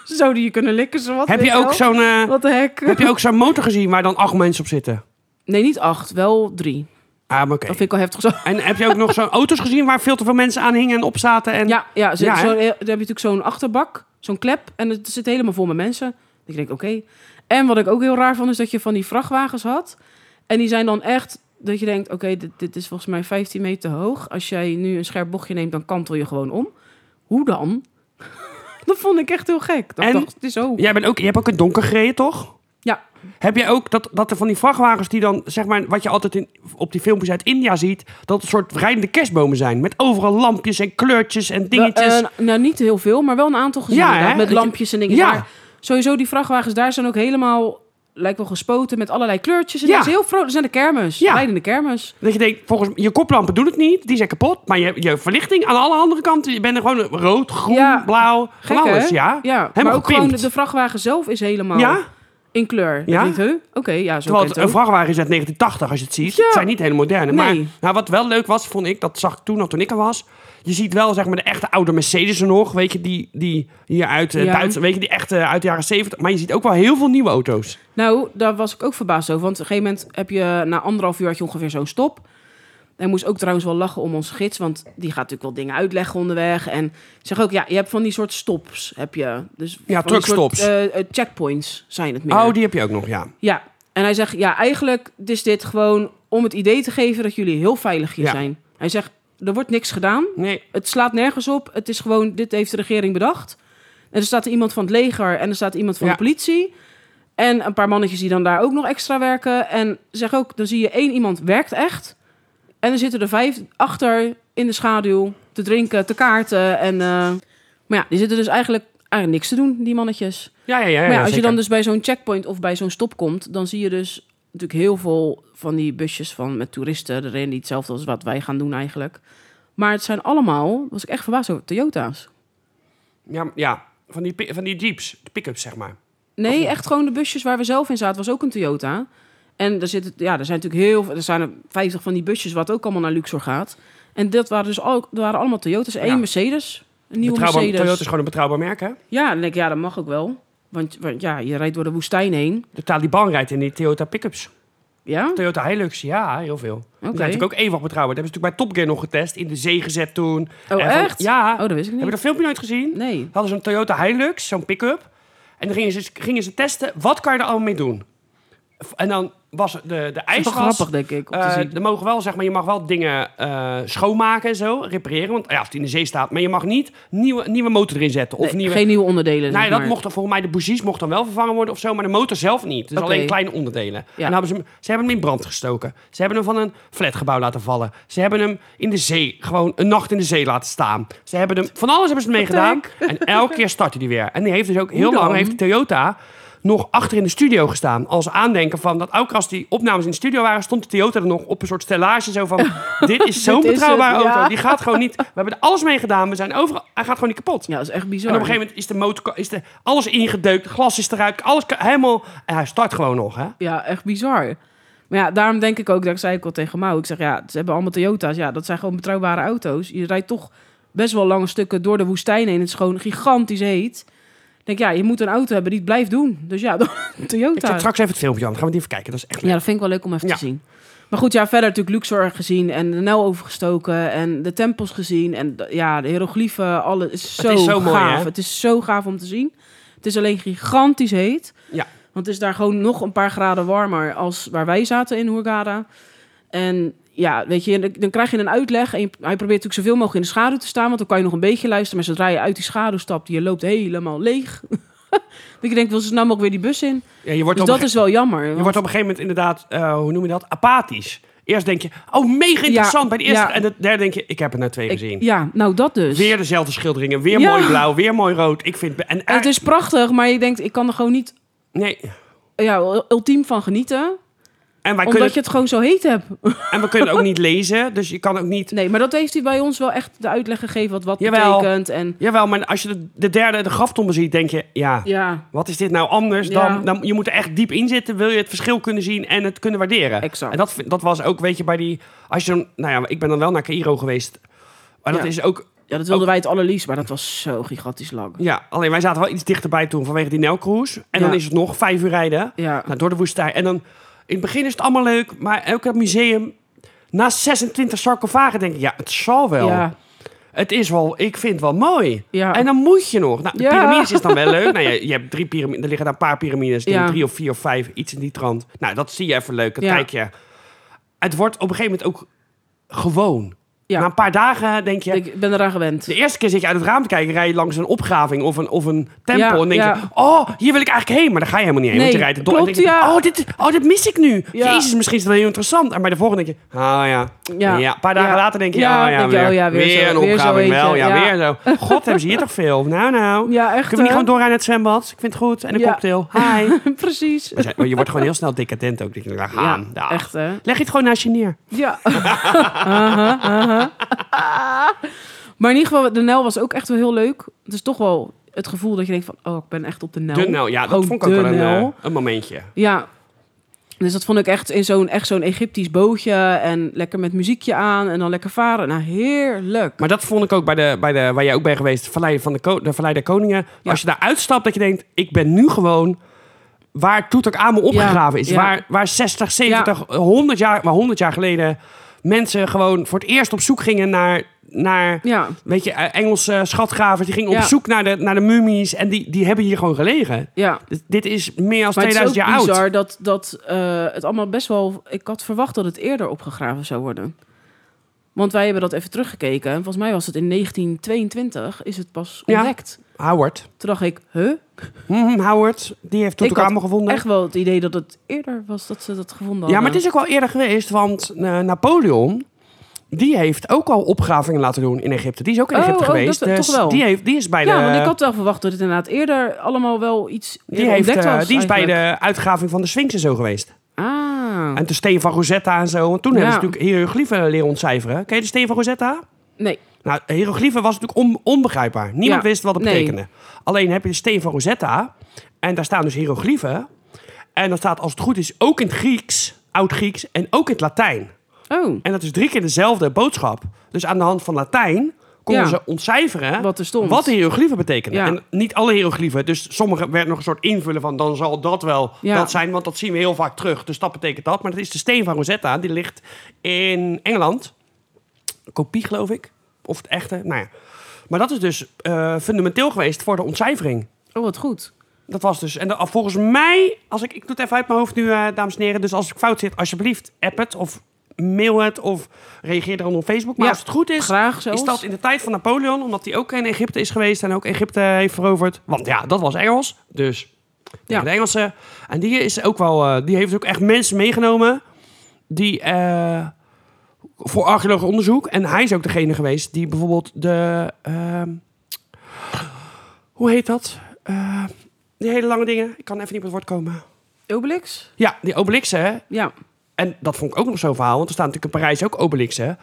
B: zouden je kunnen likken. Zo wat,
A: heb,
B: weet
A: je ook
B: wel.
A: zo'n,
B: <laughs>
A: eh,
B: Wat de hek?
A: heb je ook zo'n motor gezien waar dan acht mensen op zitten?
B: Nee, niet acht, wel drie.
A: Ah, maar oké.
B: Dat vind ik al heftig zo.
A: En heb je ook nog zo'n auto's gezien waar veel te veel mensen aan hingen en op zaten? En...
B: Ja, ja, zo,
A: Ja, hè?
B: zo- dan heb je natuurlijk zo'n achterbak, zo'n klep. En het zit helemaal vol met mensen. Ik denk, oké. En wat ik ook heel raar vond, is dat je van die vrachtwagens had. En die zijn dan echt, dat je denkt, oké, dit, dit is volgens mij 15 meter hoog. Als jij nu een scherp bochtje neemt, dan kantel je gewoon om. Hoe dan? <laughs> dat vond ik echt heel gek. Dat
A: En?
B: ik dacht, het is zo.
A: Jij bent ook, je hebt ook in het donker gereden, toch?
B: Ja.
A: Heb jij ook dat, dat er van die vrachtwagens die dan, zeg maar, wat je altijd in, op die filmpjes uit India ziet, dat het soort rijdende kerstbomen zijn? Met overal lampjes en kleurtjes en dingetjes.
B: Wel, eh, nou, niet heel veel, maar wel een aantal gezien.
A: Ja,
B: inderdaad,
A: hè?
B: Met lampjes en dingen.
A: Ja.
B: Maar sowieso, die vrachtwagens daar zijn ook helemaal lijkt wel gespoten met allerlei kleurtjes. En
A: Ja.
B: dat is heel vrolijk. Dat zijn de kermis.
A: Ja.
B: Leidende kermis.
A: Dat je denkt, volgens je koplampen doen het niet, die zijn kapot. Maar je, je verlichting aan alle andere kanten, je bent er gewoon rood, groen,
B: Ja.
A: blauw, van
B: Gek,
A: alles,
B: hè?
A: ja.
B: Ja, maar
A: Helemaal
B: ook gewoon de,
A: gepimpt.
B: de vrachtwagen zelf is helemaal
A: Ja,
B: in kleur.
A: Ja.
B: Ja. Oké, ja, zo
A: terwijl
B: kent
A: het,
B: het
A: een
B: ook.
A: vrachtwagen is uit 1980 als je het ziet.
B: Ja.
A: Het zijn niet hele moderne.
B: Nee.
A: Maar nou, wat wel leuk was, vond ik, dat zag ik toen nog toen ik er was. Je ziet wel zeg maar de echte oude Mercedes er nog, weet je, die, die hier uit eh,
B: Ja.
A: Duitsland, weet je, die echte uit de jaren 70. Maar je ziet ook wel heel veel nieuwe auto's.
B: Nou, daar was ik ook verbaasd over. Want op een gegeven moment heb je na anderhalf uur had je ongeveer zo'n stop. En moest ook trouwens wel lachen om onze gids, want die gaat natuurlijk wel dingen uitleggen onderweg. En ik zeg ook, ja, je hebt van die soort stops, heb je. Dus van die soort,
A: truckstops.
B: eh, eh, checkpoints zijn het meer.
A: Oh, die heb je ook nog, ja.
B: Ja, en hij zegt, ja, eigenlijk is dit gewoon om het idee te geven dat jullie heel veilig hier
A: Ja.
B: zijn. Hij zegt, er wordt niks gedaan.
A: Nee,
B: Het slaat nergens op. Het is gewoon, dit heeft de regering bedacht. En er staat er iemand van het leger en er staat iemand van
A: Ja.
B: de politie. En een paar mannetjes die dan daar ook nog extra werken. En zeg ook, dan zie je één iemand werkt echt. En dan zitten er vijf achter in de schaduw te drinken, te kaarten. En, eh, maar ja, die zitten dus eigenlijk, eigenlijk niks te doen, die mannetjes.
A: ja, ja, ja.
B: Maar ja,
A: ja,
B: als je
A: zeker.
B: dan dus bij zo'n checkpoint of bij zo'n stop komt, dan zie je dus natuurlijk heel veel van die busjes van met toeristen erin, die hetzelfde als wat wij gaan doen eigenlijk. Maar het zijn allemaal, was ik echt verbaasd over, Toyota's.
A: Ja, ja van, die, pi- van die jeeps, de pick-ups, zeg maar. Oh.
B: Nee, echt gewoon de busjes waar we zelf in zaten, was ook een Toyota. En er, zit, ja, er zijn natuurlijk heel veel, er zijn er 50 van die busjes wat ook allemaal naar Luxor gaat. En dat waren dus al, er waren allemaal Toyota's. Eén
A: Ja.
B: Mercedes, een nieuwe
A: Betrouwbaar-
B: Mercedes.
A: Toyota is gewoon een betrouwbaar merk, hè?
B: Ja, en dan denk ik, ja, dat mag ook wel. Want, want ja, je rijdt door de woestijn heen.
A: De Taliban rijdt in die Toyota pick-ups.
B: Ja,
A: Toyota Hilux, ja, heel veel. Die
B: Oké.
A: zijn natuurlijk ook eeuwig betrouwbaar. Dat hebben ze natuurlijk bij Top Gear nog getest, in de zee gezet toen.
B: Oh,
A: En van-
B: echt?
A: ja.
B: oh, dat wist ik
A: Heb je
B: niet.
A: dat filmpje nooit gezien?
B: Nee.
A: Hadden ze een Toyota Hilux, zo'n pick-up. En dan gingen ze, gingen ze testen, wat kan je er allemaal mee doen? F- En dan was de, de
B: Dat is wel
A: ijswas...
B: grappig, denk ik, om te
A: eh,
B: zien.
A: er mogen wel, zeg maar, je mag wel dingen eh, schoonmaken en zo, repareren. Want ja, als het in de zee staat. Maar je mag niet nieuwe, nieuwe motor erin zetten. Of
B: Nee,
A: nieuwe,
B: Geen nieuwe onderdelen.
A: Nee,
B: zeg
A: dat
B: maar.
A: mocht dan volgens mij de bougies mocht dan wel vervangen worden of zo, maar de motor zelf niet. Dus
B: Oké.
A: alleen kleine onderdelen.
B: Ja.
A: En dan hebben ze, hem, ze hebben hem in brand gestoken. Ze hebben hem van een flatgebouw laten vallen. Ze hebben hem in de zee, gewoon een nacht in de zee laten staan. Ze hebben hem, van alles hebben ze mee
B: Wat
A: gedaan. En elke keer startte die weer. En die heeft dus ook heel
B: Hoe
A: lang,
B: dan?
A: heeft de Toyota nog achter in de studio gestaan. Als aandenken van dat ook als die opnames in de studio waren, stond de Toyota er nog op een soort
B: <laughs>
A: stellage zo van, dit is zo'n
B: Dit is
A: betrouwbare
B: het, ja.
A: auto. Die gaat gewoon niet, we hebben er alles mee gedaan. We zijn overal, hij gaat gewoon niet kapot.
B: Ja, dat is echt bizar.
A: En op een gegeven moment is de motor, is de, alles ingedeukt, het glas is eruit, alles ka- helemaal. En hij start gewoon nog, hè?
B: Ja, echt bizar. Maar ja, daarom denk ik ook, dat zei ik al tegen Mau. Ik zeg, ja, ze hebben allemaal Toyota's. Ja, dat zijn gewoon betrouwbare auto's. Je rijdt toch best wel lange stukken door de woestijn heen. Het is gewoon gigantisch heet. Ik denk, ja, je moet een auto hebben die het blijft doen. Dus ja, <laughs> dan een
A: Ik zet
B: Toyota.
A: straks even het filmpje aan, dan gaan we het even kijken. Dat is echt
B: Ja, dat vind ik wel leuk om even
A: Ja.
B: te zien. Maar goed, ja, verder natuurlijk Luxor gezien en de Nel overgestoken en de tempels gezien. En d- ja, de hieroglyphen, alles is zo,
A: is zo mooi,
B: gaaf.
A: hè?
B: het is zo gaaf om te zien. Het is alleen gigantisch heet.
A: Ja.
B: Want het is daar gewoon nog een paar graden warmer als waar wij zaten in Hurghada. En ja, weet je, dan- dan krijg je een uitleg. En je- hij probeert natuurlijk zoveel mogelijk in de schaduw te staan. Want dan kan je nog een beetje luisteren. Maar zodra je uit die schaduw stapt, je loopt helemaal leeg. <laughs> dat je denkt, wil ze nou ook weer die bus in?
A: Ja, je wordt,
B: Dus
A: op,
B: dat
A: een ge-
B: is wel jammer.
A: je
B: want-
A: wordt op een gegeven moment inderdaad, eh, hoe noem je dat? Apathisch. Eerst denk je, oh, mega interessant.
B: Ja,
A: bij de eerste.
B: ja.
A: En de derde denk je, ik heb er nou twee
B: Ik-
A: gezien.
B: ja, nou dat dus.
A: Weer dezelfde schilderingen, weer
B: Ja.
A: mooi blauw, weer mooi rood. Ik vind. En,
B: Het is prachtig, maar je denkt, ik kan er gewoon niet
A: nee.
B: ja, ultiem van genieten.
A: En, wij
B: omdat
A: kunnen,
B: je het gewoon zo heet hebt.
A: en we kunnen
B: <laughs>
A: ook niet lezen, dus je kan ook niet.
B: Nee, maar dat heeft hij bij ons wel echt de uitleg gegeven wat wat
A: Jawel.
B: betekent. En
A: Jawel, maar als je de, de derde, de graftombe ziet, denk je, ja,
B: ja,
A: Wat is dit nou anders
B: Ja.
A: dan, dan... Je moet er echt diep in zitten, wil je het verschil kunnen zien en het kunnen waarderen.
B: Exact.
A: En dat, vind- dat was ook, weet je, bij die... Als je, dan- nou ja, ik ben dan wel naar Cairo geweest. Maar dat
B: Ja.
A: is ook...
B: ja, dat wilden wij het allerliefst, maar dat was zo gigantisch lang.
A: Ja, alleen wij zaten wel iets dichterbij toen vanwege die Nelcruise. En dan
B: Ja.
A: is het nog vijf uur rijden
B: Ja,
A: nou, door de woestijn. En dan, in het begin is het allemaal leuk, maar elk museum... Na 26 sarcofagen denk ik, ja, het zal wel.
B: ja,
A: Het is wel, ik vind het wel mooi.
B: ja.
A: En dan moet je nog. Nou, de
B: Oh. Ja.
A: piramides is dan wel leuk. Nou, je, je hebt drie piramides. Er liggen daar een paar piramides. ik denk
B: Ja.
A: Drie of vier of vijf. Iets in die trant. Nou, dat zie je even leuk. Dat
B: Ja.
A: kijk je. Het wordt op een gegeven moment ook gewoon.
B: Ja.
A: Na een paar dagen denk je...
B: Ik ben eraan gewend.
A: De eerste keer zit je uit het raam te kijken, rij je langs een opgraving of een, of een tempel.
B: Ja,
A: en denk
B: ja.
A: je, oh, hier wil ik eigenlijk heen. Maar daar ga je helemaal niet heen, want je
B: Nee,
A: rijdt het door.
B: klopt,
A: en denk je,
B: ja.
A: oh, dit, oh, dit mis ik nu.
B: Ja.
A: Jezus, misschien is dat heel interessant. En bij de volgende denk je, ah ja. ja. een paar dagen
B: Ja.
A: later denk je,
B: Ja,
A: oh ja,
B: denk je,
A: weer,
B: oh ja, weer zo-
A: een
B: weer zo
A: opgraving
B: eentje.
A: wel. Ja,
B: Ja.
A: weer zo. God, hebben ze hier toch veel? Nou, nou.
B: Ja, echt.
A: Kunnen we niet
B: hè?
A: gewoon doorrijden naar het zwembad? Ik vind het goed. En een
B: Ja. <laughs>
A: cocktail. Hi. Maar
B: Precies.
A: ze- maar je wordt gewoon heel snel decadent ook. Dat je denkt, nou, gaan.
B: Ja,
A: Ja,
B: echt hè.
A: Leg je het gewoon naast je neer.
B: Ja. Aha, aha. maar in ieder geval, de Nel was ook echt wel heel leuk. Het is toch wel het gevoel dat je denkt van, oh, ik ben echt op de Nel.
A: De Nel, ja, dat
B: Gewoon
A: vond ik ook
B: de
A: wel een,
B: Nel.
A: eh, een momentje.
B: Ja. Dus dat vond ik echt in zo'n echt zo'n Egyptisch bootje en lekker met muziekje aan en dan lekker varen. Nou, heerlijk.
A: Maar dat vond ik ook bij de, bij de waar jij ook bij geweest, Vallei van de, Ko- de Vallei der Koningen.
B: Ja.
A: Als je daar uitstapt, dat je denkt, ik ben nu gewoon waar Toetak-Amon opgegraven is.
B: ja.
A: Waar, waar 60, 70, 100 jaar, maar 100 jaar geleden mensen gewoon voor het eerst op zoek gingen naar, naar
B: Ja,
A: weet je, eh, Engelse schatgravers. Die gingen
B: Ja.
A: op zoek naar de, naar de mummies en die, die hebben hier gewoon gelegen.
B: ja.
A: Dus dit is meer dan
B: Maar het is
A: 2000
B: ook
A: jaar oud.
B: bizar dat, dat eh, het allemaal best wel... Ik had verwacht dat het eerder opgegraven zou worden. Want wij hebben dat even teruggekeken. En volgens mij was het in 1922 is het pas
A: Ja.
B: ontdekt.
A: Howard.
B: Toen dacht ik, huh?
A: Mhm, Howard, die heeft Toetak-Amon gevonden.
B: Echt wel het idee dat het eerder was dat ze dat gevonden hadden.
A: Ja, maar het is ook wel eerder geweest, want eh, Napoleon, die heeft ook al opgravingen laten doen in Egypte. Die is ook in
B: Oh,
A: Egypte
B: oh,
A: geweest.
B: dat-
A: dus
B: toch wel.
A: Die, heeft, die is bij
B: Ja,
A: de,
B: want ik had wel verwacht dat het inderdaad eerder allemaal wel iets
A: die
B: heeft,
A: heeft,
B: ontdekt
A: eh,
B: was.
A: die is bij
B: eigenlijk.
A: de uitgraving van de Sphinx en zo geweest.
B: Ah,
A: En de steen van Rosetta en zo. Want toen
B: Ja.
A: hebben ze natuurlijk hieroglyphen leren ontcijferen. Ken je de steen van Rosetta?
B: nee.
A: Nou, hieroglyphen was natuurlijk on- onbegrijpbaar. Niemand
B: Ja,
A: wist wat het
B: nee.
A: betekende. Alleen heb je de steen van Rosetta. En daar staan dus hieroglyphen. En dat staat, als het goed is, ook in het Grieks, Oud-Grieks en ook in het Latijn.
B: Oh,
A: En dat is drie keer dezelfde boodschap. Dus aan de hand van Latijn konden
B: Ja.
A: ze ontcijferen
B: Wat er stond.
A: wat de hieroglyphen betekenen.
B: Ja.
A: En niet alle hieroglyphen. Dus sommige werd nog een soort invullen van dan zal dat wel
B: Ja.
A: dat zijn. Want dat zien we heel vaak terug. Dus dat betekent dat. Maar dat is de steen van Rosetta. Die ligt in Engeland. Kopie geloof ik. Of het echte. Nou ja. Maar dat is dus eh, fundamenteel geweest voor de ontcijfering.
B: oh wat goed.
A: Dat was dus. En dat- volgens mij, als ik, ik doe het even uit mijn hoofd nu, eh, dames en heren. Dus als ik fout zit, alsjeblieft, app het of mail het of reageer dan op Facebook. Maar
B: Ja,
A: als het goed is,
B: Graag zelfs.
A: is dat in de tijd van Napoleon, omdat hij ook in Egypte is geweest en ook Egypte heeft veroverd. Want ja, dat was Engels. Dus ja.
B: Ja.
A: de Engelsen. En die, is ook wel, eh, die heeft ook echt mensen meegenomen die. eh, voor archeologisch onderzoek. En hij is ook degene geweest die bijvoorbeeld de. ehm, hoe heet dat? Eh, die hele lange dingen. Ik kan even niet op het woord komen.
B: Obelix?
A: Ja, die obelixen.
B: Ja,
A: En dat vond ik ook nog zo'n verhaal. Want er staan natuurlijk in Parijs ook obelixen.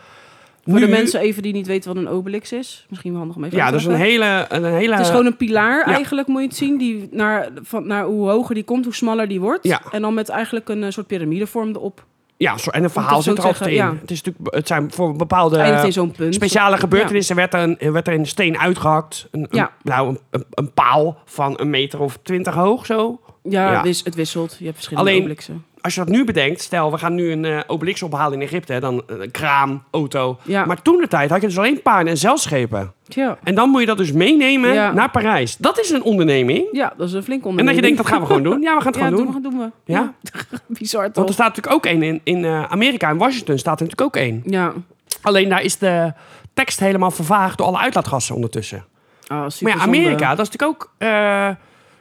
B: voor de mensen even die niet weten wat een obelix is. Misschien wel handig om even
A: Ja,
B: uit te
A: dat is een
B: leggen.
A: hele... Een hele
B: Het is gewoon een pilaar
A: Eh, ja.
B: eigenlijk, moet je het zien. Die naar, van, naar hoe hoger die komt, hoe smaller die wordt.
A: Ja.
B: En dan met eigenlijk een eh, soort piramidevorm erop.
A: ja, zo- en een
B: Moet
A: verhaal
B: ik
A: zit
B: zo
A: er altijd in.
B: zeggen, ja.
A: Het, is natuurlijk, het zijn voor bepaalde...
B: Eindigt in zo'n punt.
A: Speciale gebeurtenissen werd, er een, werd er een steen uitgehakt. Een, een-
B: Ja.
A: nou, een, een, een paal van een meter of twintig hoog, zo.
B: Ja,
A: Ja.
B: wis- het wisselt. Je hebt verschillende
A: Alleen-
B: obelixen.
A: als je dat nu bedenkt, stel we gaan nu een eh, obelix ophalen in Egypte, hè, dan eh, een kraam, auto.
B: Ja.
A: Maar toen de tijd had je dus alleen paarden en zeilschepen.
B: Tja.
A: En dan moet je dat dus meenemen
B: Ja.
A: naar Parijs. Dat is een onderneming.
B: Ja, dat is een flink
A: En dat
B: onderneming.
A: je denkt, dat gaan we gewoon doen. Ja, we gaan
B: <laughs>
A: het
B: Ja,
A: gewoon
B: doen
A: doen.
B: we. gaan Doen we.
A: Ja.
B: <laughs> Bizar toch?
A: Want er staat natuurlijk ook één in, in eh, Amerika, in Washington staat er natuurlijk ook één.
B: Ja. Ah,
A: Alleen daar is de tekst helemaal vervaagd door alle uitlaatgassen ondertussen.
B: Ah,
A: Maar
B: super
A: ja, Amerika, dat is natuurlijk ook... eh,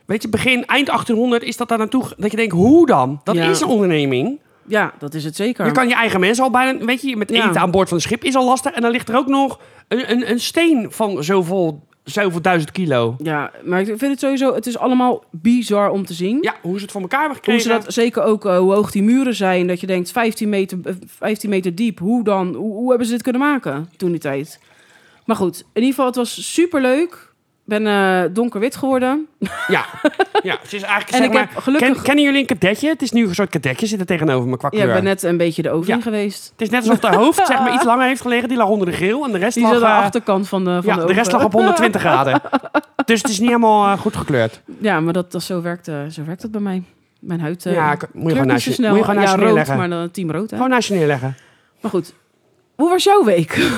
A: weet je, begin, eind 1800 is dat daar naartoe... ge- Dat je denkt, hoe dan? Dat
B: Ja.
A: is een onderneming.
B: Ja, dat is het zeker.
A: Je kan je eigen mensen al bijna, weet je, met
B: Ja.
A: eten aan boord van een schip is al lastig. En dan ligt er ook nog een, een, een steen van zoveel, zoveel duizend kilo.
B: Ja, maar ik vind het sowieso, het is allemaal bizar om te zien.
A: Ja, hoe ze het voor elkaar hebben
B: Hoe
A: gekregen.
B: ze dat, zeker ook eh, hoe hoog die muren zijn, dat je denkt 15 meter, eh, 15 meter diep, hoe dan, hoe, hoe hebben ze dit kunnen maken toen die tijd? Maar goed, in ieder geval, het was super leuk. Ik ben eh, donkerwit geworden.
A: Ja, ja het is eigenlijk,
B: en
A: zeg
B: ik
A: maar,
B: heb gelukkig,
A: ken- kennen jullie een kadetje? Het is nu een soort kadetje, zit er tegenover me qua
B: ja,
A: kleur.
B: ik ben net een beetje de oven
A: Ja.
B: geweest.
A: Het is net alsof de hoofd zeg
B: <laughs>
A: maar, iets langer heeft gelegen. Die lag onder de grill en de rest,
B: Die
A: lag,
B: zat aan de
A: eh,
B: achterkant van de, van
A: ja,
B: de
A: de
B: oven.
A: rest lag op
B: <laughs>
A: 120 graden. Dus het is niet helemaal eh, goed gekleurd.
B: Ja, maar dat, dat, zo, werkt, eh, zo werkt dat bij mij. Mijn huid eh
A: ja,
B: ja,
A: ik- moet je gewoon naast je,
B: zo snel.
A: moet je gewoon naast
B: ja,
A: je
B: rood,
A: neerleggen.
B: maar dan team rood. Hè?
A: Gewoon naast je neerleggen.
B: Maar goed, hoe was jouw week?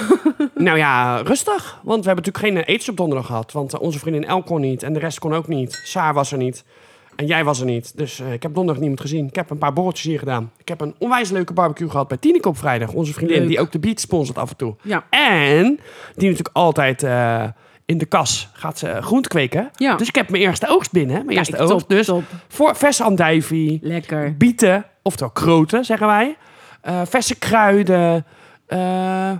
A: Nou ja, rustig. Want we hebben natuurlijk geen eh, etens op donderdag gehad. Want eh, onze vriendin El kon niet en de rest kon ook niet. Saar was er niet. En jij was er niet. Dus eh, ik heb donderdag niemand gezien. Ik heb een paar borreltjes hier gedaan. Ik heb een onwijs leuke barbecue gehad bij Tineke op vrijdag. Onze vriendin
B: Leuk.
A: die ook de beat sponsort af en toe.
B: Ja.
A: En die natuurlijk altijd eh, in de kas gaat ze groente kweken.
B: Ja.
A: Dus ik heb mijn eerste oogst binnen. hè. Mijn
B: Kijk,
A: eerste oogst.
B: top,
A: dus
B: top.
A: voor verse andijvie,
B: Lekker.
A: bieten, oftewel kroten zeggen wij. eh, verse kruiden. eh,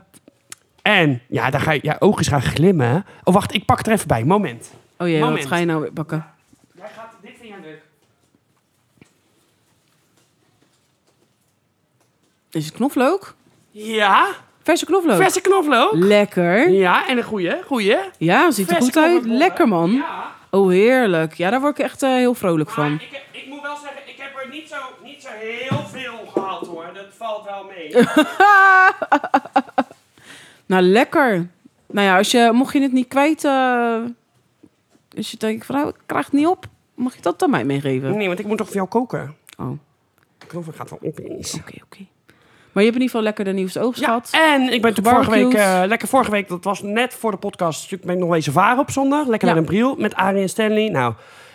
A: en ja, daar ga je, ja, oogjes gaan glimmen. hè. Oh, wacht, ik pak het er even bij. Moment.
B: Oh jee,
A: Moment.
B: wat ga je nou weer bakken?
A: Jij gaat dit in je druk.
B: Is het knoflook?
A: Ja,
B: Verse knoflook.
A: verse knoflook.
B: Oh. Lekker.
A: Ja, en een goeie, goeie.
B: Ja, ziet er
A: Verse
B: goed uit.
A: knoflookbollen.
B: Lekker man.
A: Ja,
B: Oh, heerlijk. Ja, daar word ik echt eh, heel vrolijk
A: maar
B: van.
A: ik, heb- ik moet wel zeggen, ik heb er niet zo, niet zo heel veel gehaald hoor. Dat valt wel mee.
B: Nou, lekker. Nou ja, als je, mocht je het niet kwijt... eh als je denkt, van, nou, ik krijg het niet op. Mag je dat aan mij meegeven?
A: Nee, want ik moet toch voor jou koken?
B: Oh, oké,
A: Knoflook gaat wel op eens.
B: oké. Maar je hebt in ieder geval lekker de nieuwste oogst
A: Ja,
B: gehad.
A: en ik ben toen vorige week,
B: Gebarbecued.
A: eh, lekker vorige week, dat was net voor de podcast, ben ik nog wezen varen op zondag. Lekker
B: Ja.
A: naar een bril met Arie en Stanley. Nou,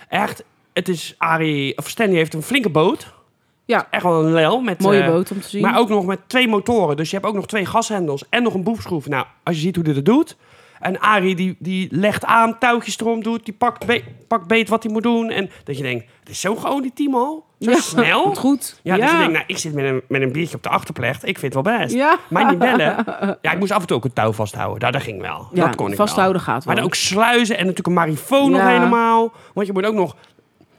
A: echt, het is Arie, of Stanley heeft een flinke boot.
B: Ja,
A: Echt wel een lel. Met,
B: mooie
A: eh,
B: boot om te zien.
A: Maar ook nog met twee motoren. Dus je hebt ook nog twee gashendels en nog een boefschroef. Nou, als je ziet hoe dit het doet. En Arie die, die legt aan, touwtjes erom doet. Die pakt, be- pakt beet wat hij moet doen. En dat je denkt, het is zo gewoon die team al. Zo
B: Ja, <laughs>
A: snel.
B: komt goed.
A: Ja, dus je denkt, nou, ik zit met een, met een biertje op de achterplecht. Ik vind het wel best.
B: Ja.
A: Maar niet bellen.
B: <laughs>
A: Ja, ik moest af en toe ook een touw vasthouden. Daar, dat ging wel.
B: Ja,
A: dat kon ik wel.
B: vasthouden gaat wel.
A: Maar dan ook sluizen en natuurlijk een marifoon nog
B: Ja.
A: helemaal. Want je moet ook nog,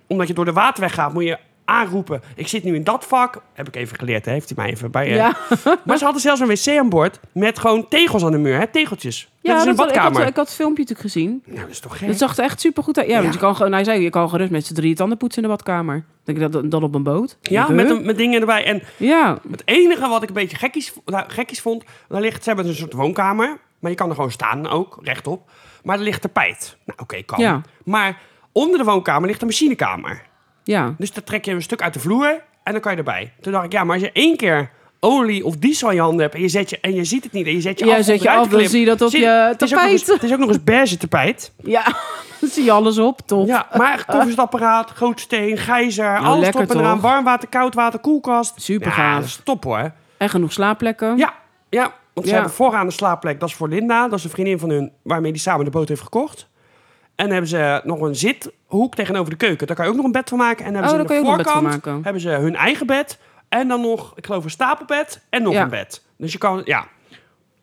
A: omdat je door de waterweg gaat, moet je aanroepen. Ik zit nu in dat vak. Heb ik even geleerd, hè? heeft hij mij even bij. eh.
B: Ja.
A: Maar ze hadden zelfs een wc aan boord met gewoon tegels aan de muur, hè? tegeltjes.
B: Ja,
A: dat is een
B: dat had- ik,
A: badkamer.
B: had, ik had het filmpje natuurlijk gezien.
A: Nou, dat is toch
B: Het
A: gek?
B: zag er echt super goed uit. Ja,
A: Ja.
B: want je kan gewoon, nou, hij zei, je kan gerust met z'n drieën tanden poetsen in de badkamer. Denk ik dat dan op een boot?
A: Ja, met, een- met dingen erbij. En
B: Ja,
A: het enige wat ik een beetje gekkies, nou, gekkies vond, daar ligt, ze hebben een soort woonkamer. Maar je kan er gewoon staan ook, rechtop. Maar er ligt tapijt. Nou, oké, kan.
B: Ja.
A: Maar onder de woonkamer ligt een machinekamer.
B: ja.
A: Dus dan trek je een stuk uit de vloer en dan kan je erbij. Toen dacht ik, ja, maar als je één keer olie of diesel in je handen hebt en je, zet je, en je ziet het niet en je zet je
B: Ja,
A: af, op
B: zet
A: de
B: je af, dan
A: ruitenklep,
B: zie je dat op je
A: het is ook nog
B: tapijt.
A: <laughs> eens- Het is ook nog eens beige tapijt.
B: Ja, dan zie je alles op, top.
A: Ja, maar koffersapparaat, gootsteen, gijzer, alles
B: lekker
A: erop en eraan.
B: toch?
A: Warm water, koud water, koelkast.
B: Super
A: ja,
B: gaaf.
A: dat is top hoor.
B: En genoeg slaapplekken.
A: Ja, ja. Want ze
B: Ja.
A: hebben vooraan de slaapplek, dat is voor Linda. Dat is een vriendin van hun waarmee die samen de boot heeft gekocht. En dan hebben ze nog een zithoek tegenover de keuken. Daar kan je ook nog een bed van maken. En dan
B: Oh,
A: hebben
B: daar kan
A: ze
B: je
A: aan de
B: ook nog een bed van
A: voorkant
B: maken.
A: hebben ze hun eigen bed. En dan nog, ik geloof, een stapelbed en nog
B: Ja.
A: een bed. Dus je kan, ja.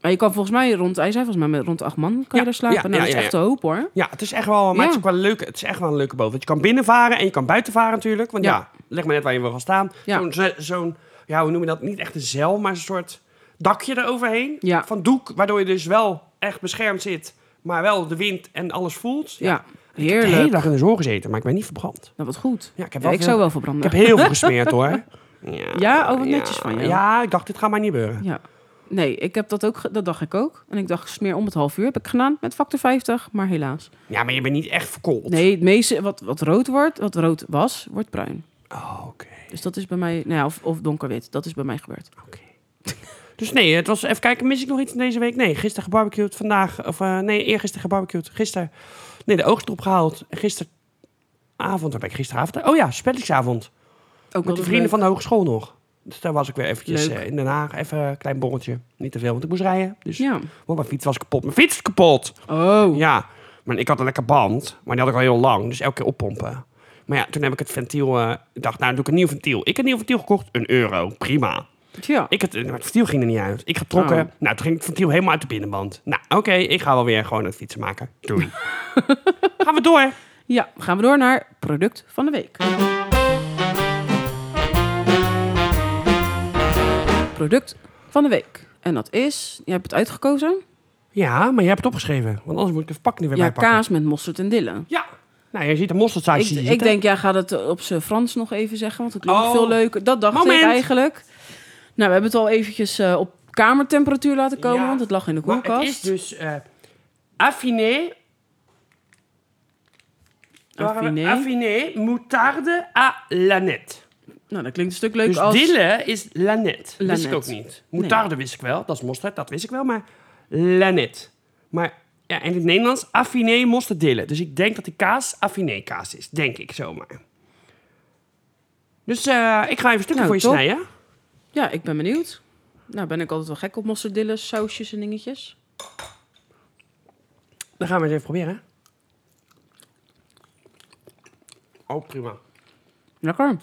B: Maar je kan volgens mij rond, hij zei volgens mij met rond acht man kan
A: Ja,
B: je daar slapen.
A: ja,
B: nou,
A: ja,
B: dat is
A: ja,
B: echt
A: ja.
B: de hoop hoor.
A: Ja, het is echt wel, maar het, is
B: Ja.
A: ook wel een leuke, het is echt wel een leuke boot. Want je kan binnenvaren en je kan buitenvaren natuurlijk. Want ja,
B: Ja.
A: leg maar net waar je wil gaan staan.
B: Ja.
A: Zo'n, ze- zo'n, ja, hoe noem je dat? Niet echt een zeil, maar een soort dakje eroverheen.
B: Ja.
A: Van doek, waardoor je dus wel echt beschermd zit. Maar wel de wind en alles voelt.
B: Ja,
A: Ik heb de hele
B: heerlijk.
A: dag in de zon gezeten, maar ik ben niet verbrand.
B: Nou, wat goed.
A: Ja, ik heb
B: Ja,
A: wel
B: ik
A: veel-
B: zou wel
A: Ik
B: verbranden.
A: heb
B: <laughs>
A: heel veel gesmeerd hoor. Ja,
B: Ja, oh, wat netjes van jou.
A: Ja, ik dacht, dit gaat maar niet gebeuren.
B: Ja. Nee, ik heb dat ook, ge- dat dacht ik ook. En ik dacht, smeer om het half uur heb ik gedaan met factor 50, maar helaas.
A: Ja, maar je bent niet echt verkoold.
B: Nee, het meeste wat, wat rood wordt, wat rood was, wordt bruin.
A: Oh, oké.
B: Dus dat is bij mij, nou ja, of, of donkerwit, dat is bij mij gebeurd.
A: Oké. <laughs> Dus nee, het was even kijken, mis ik nog iets van deze week? Nee, gisteren gebarbecued, vandaag, of eh nee, eergisteren gebarbecued, gisteren, nee, de oogst opgehaald, en gisteravond, waar ben ik gisteravond? Oh ja, spellingsavond,
B: Ook
A: met de vrienden van de hogeschool nog. Dus daar was ik weer eventjes
B: Leuk.
A: eh, in Den Haag, even een klein borreltje, niet te veel, want ik moest rijden, dus,
B: Ja.
A: want mijn fiets was kapot, mijn fiets is kapot!
B: Oh.
A: Ja, maar ik had een lekker band, maar die had ik al heel lang, dus elke keer oppompen. Maar ja, toen heb ik het ventiel, eh, ik dacht, nou, dan doe ik een nieuw ventiel. Ik heb een nieuw ventiel gekocht, een euro, prima.
B: Tja.
A: Ik had, maar het ventiel ging er niet uit. Ik getrokken.
B: Oh.
A: Nou, toen ging het ventiel helemaal uit de binnenband. Nou, oké, ik ga wel weer gewoon het fietsen maken. Doei. <laughs> Gaan we door.
B: Ja, gaan we door naar product van de week. Product van de week. En dat is, je hebt het uitgekozen.
A: Ja, maar je hebt het opgeschreven. Want anders moet ik de verpakking er weer
B: Ja,
A: bij pakken.
B: kaas met mosterd en dillen.
A: Ja. Nou, je ziet de mosterdzaai
B: Ik,
A: zie je
B: ik
A: zitten.
B: denk, ja, ga dat op zijn Frans nog even zeggen, want het klinkt
A: Oh.
B: veel leuker. Dat dacht
A: Moment.
B: ik eigenlijk. Nou, we hebben het al eventjes eh, op kamertemperatuur laten komen,
A: Ja.
B: want het lag in de
A: Maar
B: koelkast.
A: het is dus eh affiné.
B: Affiné.
A: Affiné moutarde à lanette.
B: Nou, dat klinkt een stuk leuker
A: Dus
B: als...
A: dille is lanet. Dat wist ik
B: Lanet.
A: ook niet. Moutarde wist ik wel, dat is mosterd, dat wist ik wel, maar lanet. Maar ja, en in het Nederlands affiné mosterd dille. Dus ik denk dat die kaas affiné kaas is, denk ik zomaar. Dus eh, ik ga even stukken
B: Nou,
A: voor je
B: top.
A: snijden.
B: Ja, ik ben benieuwd. Nou, ben ik altijd wel gek op mozzardilla's, sausjes en dingetjes.
A: Dan gaan we eens even proberen. Oh, prima.
B: Lekker.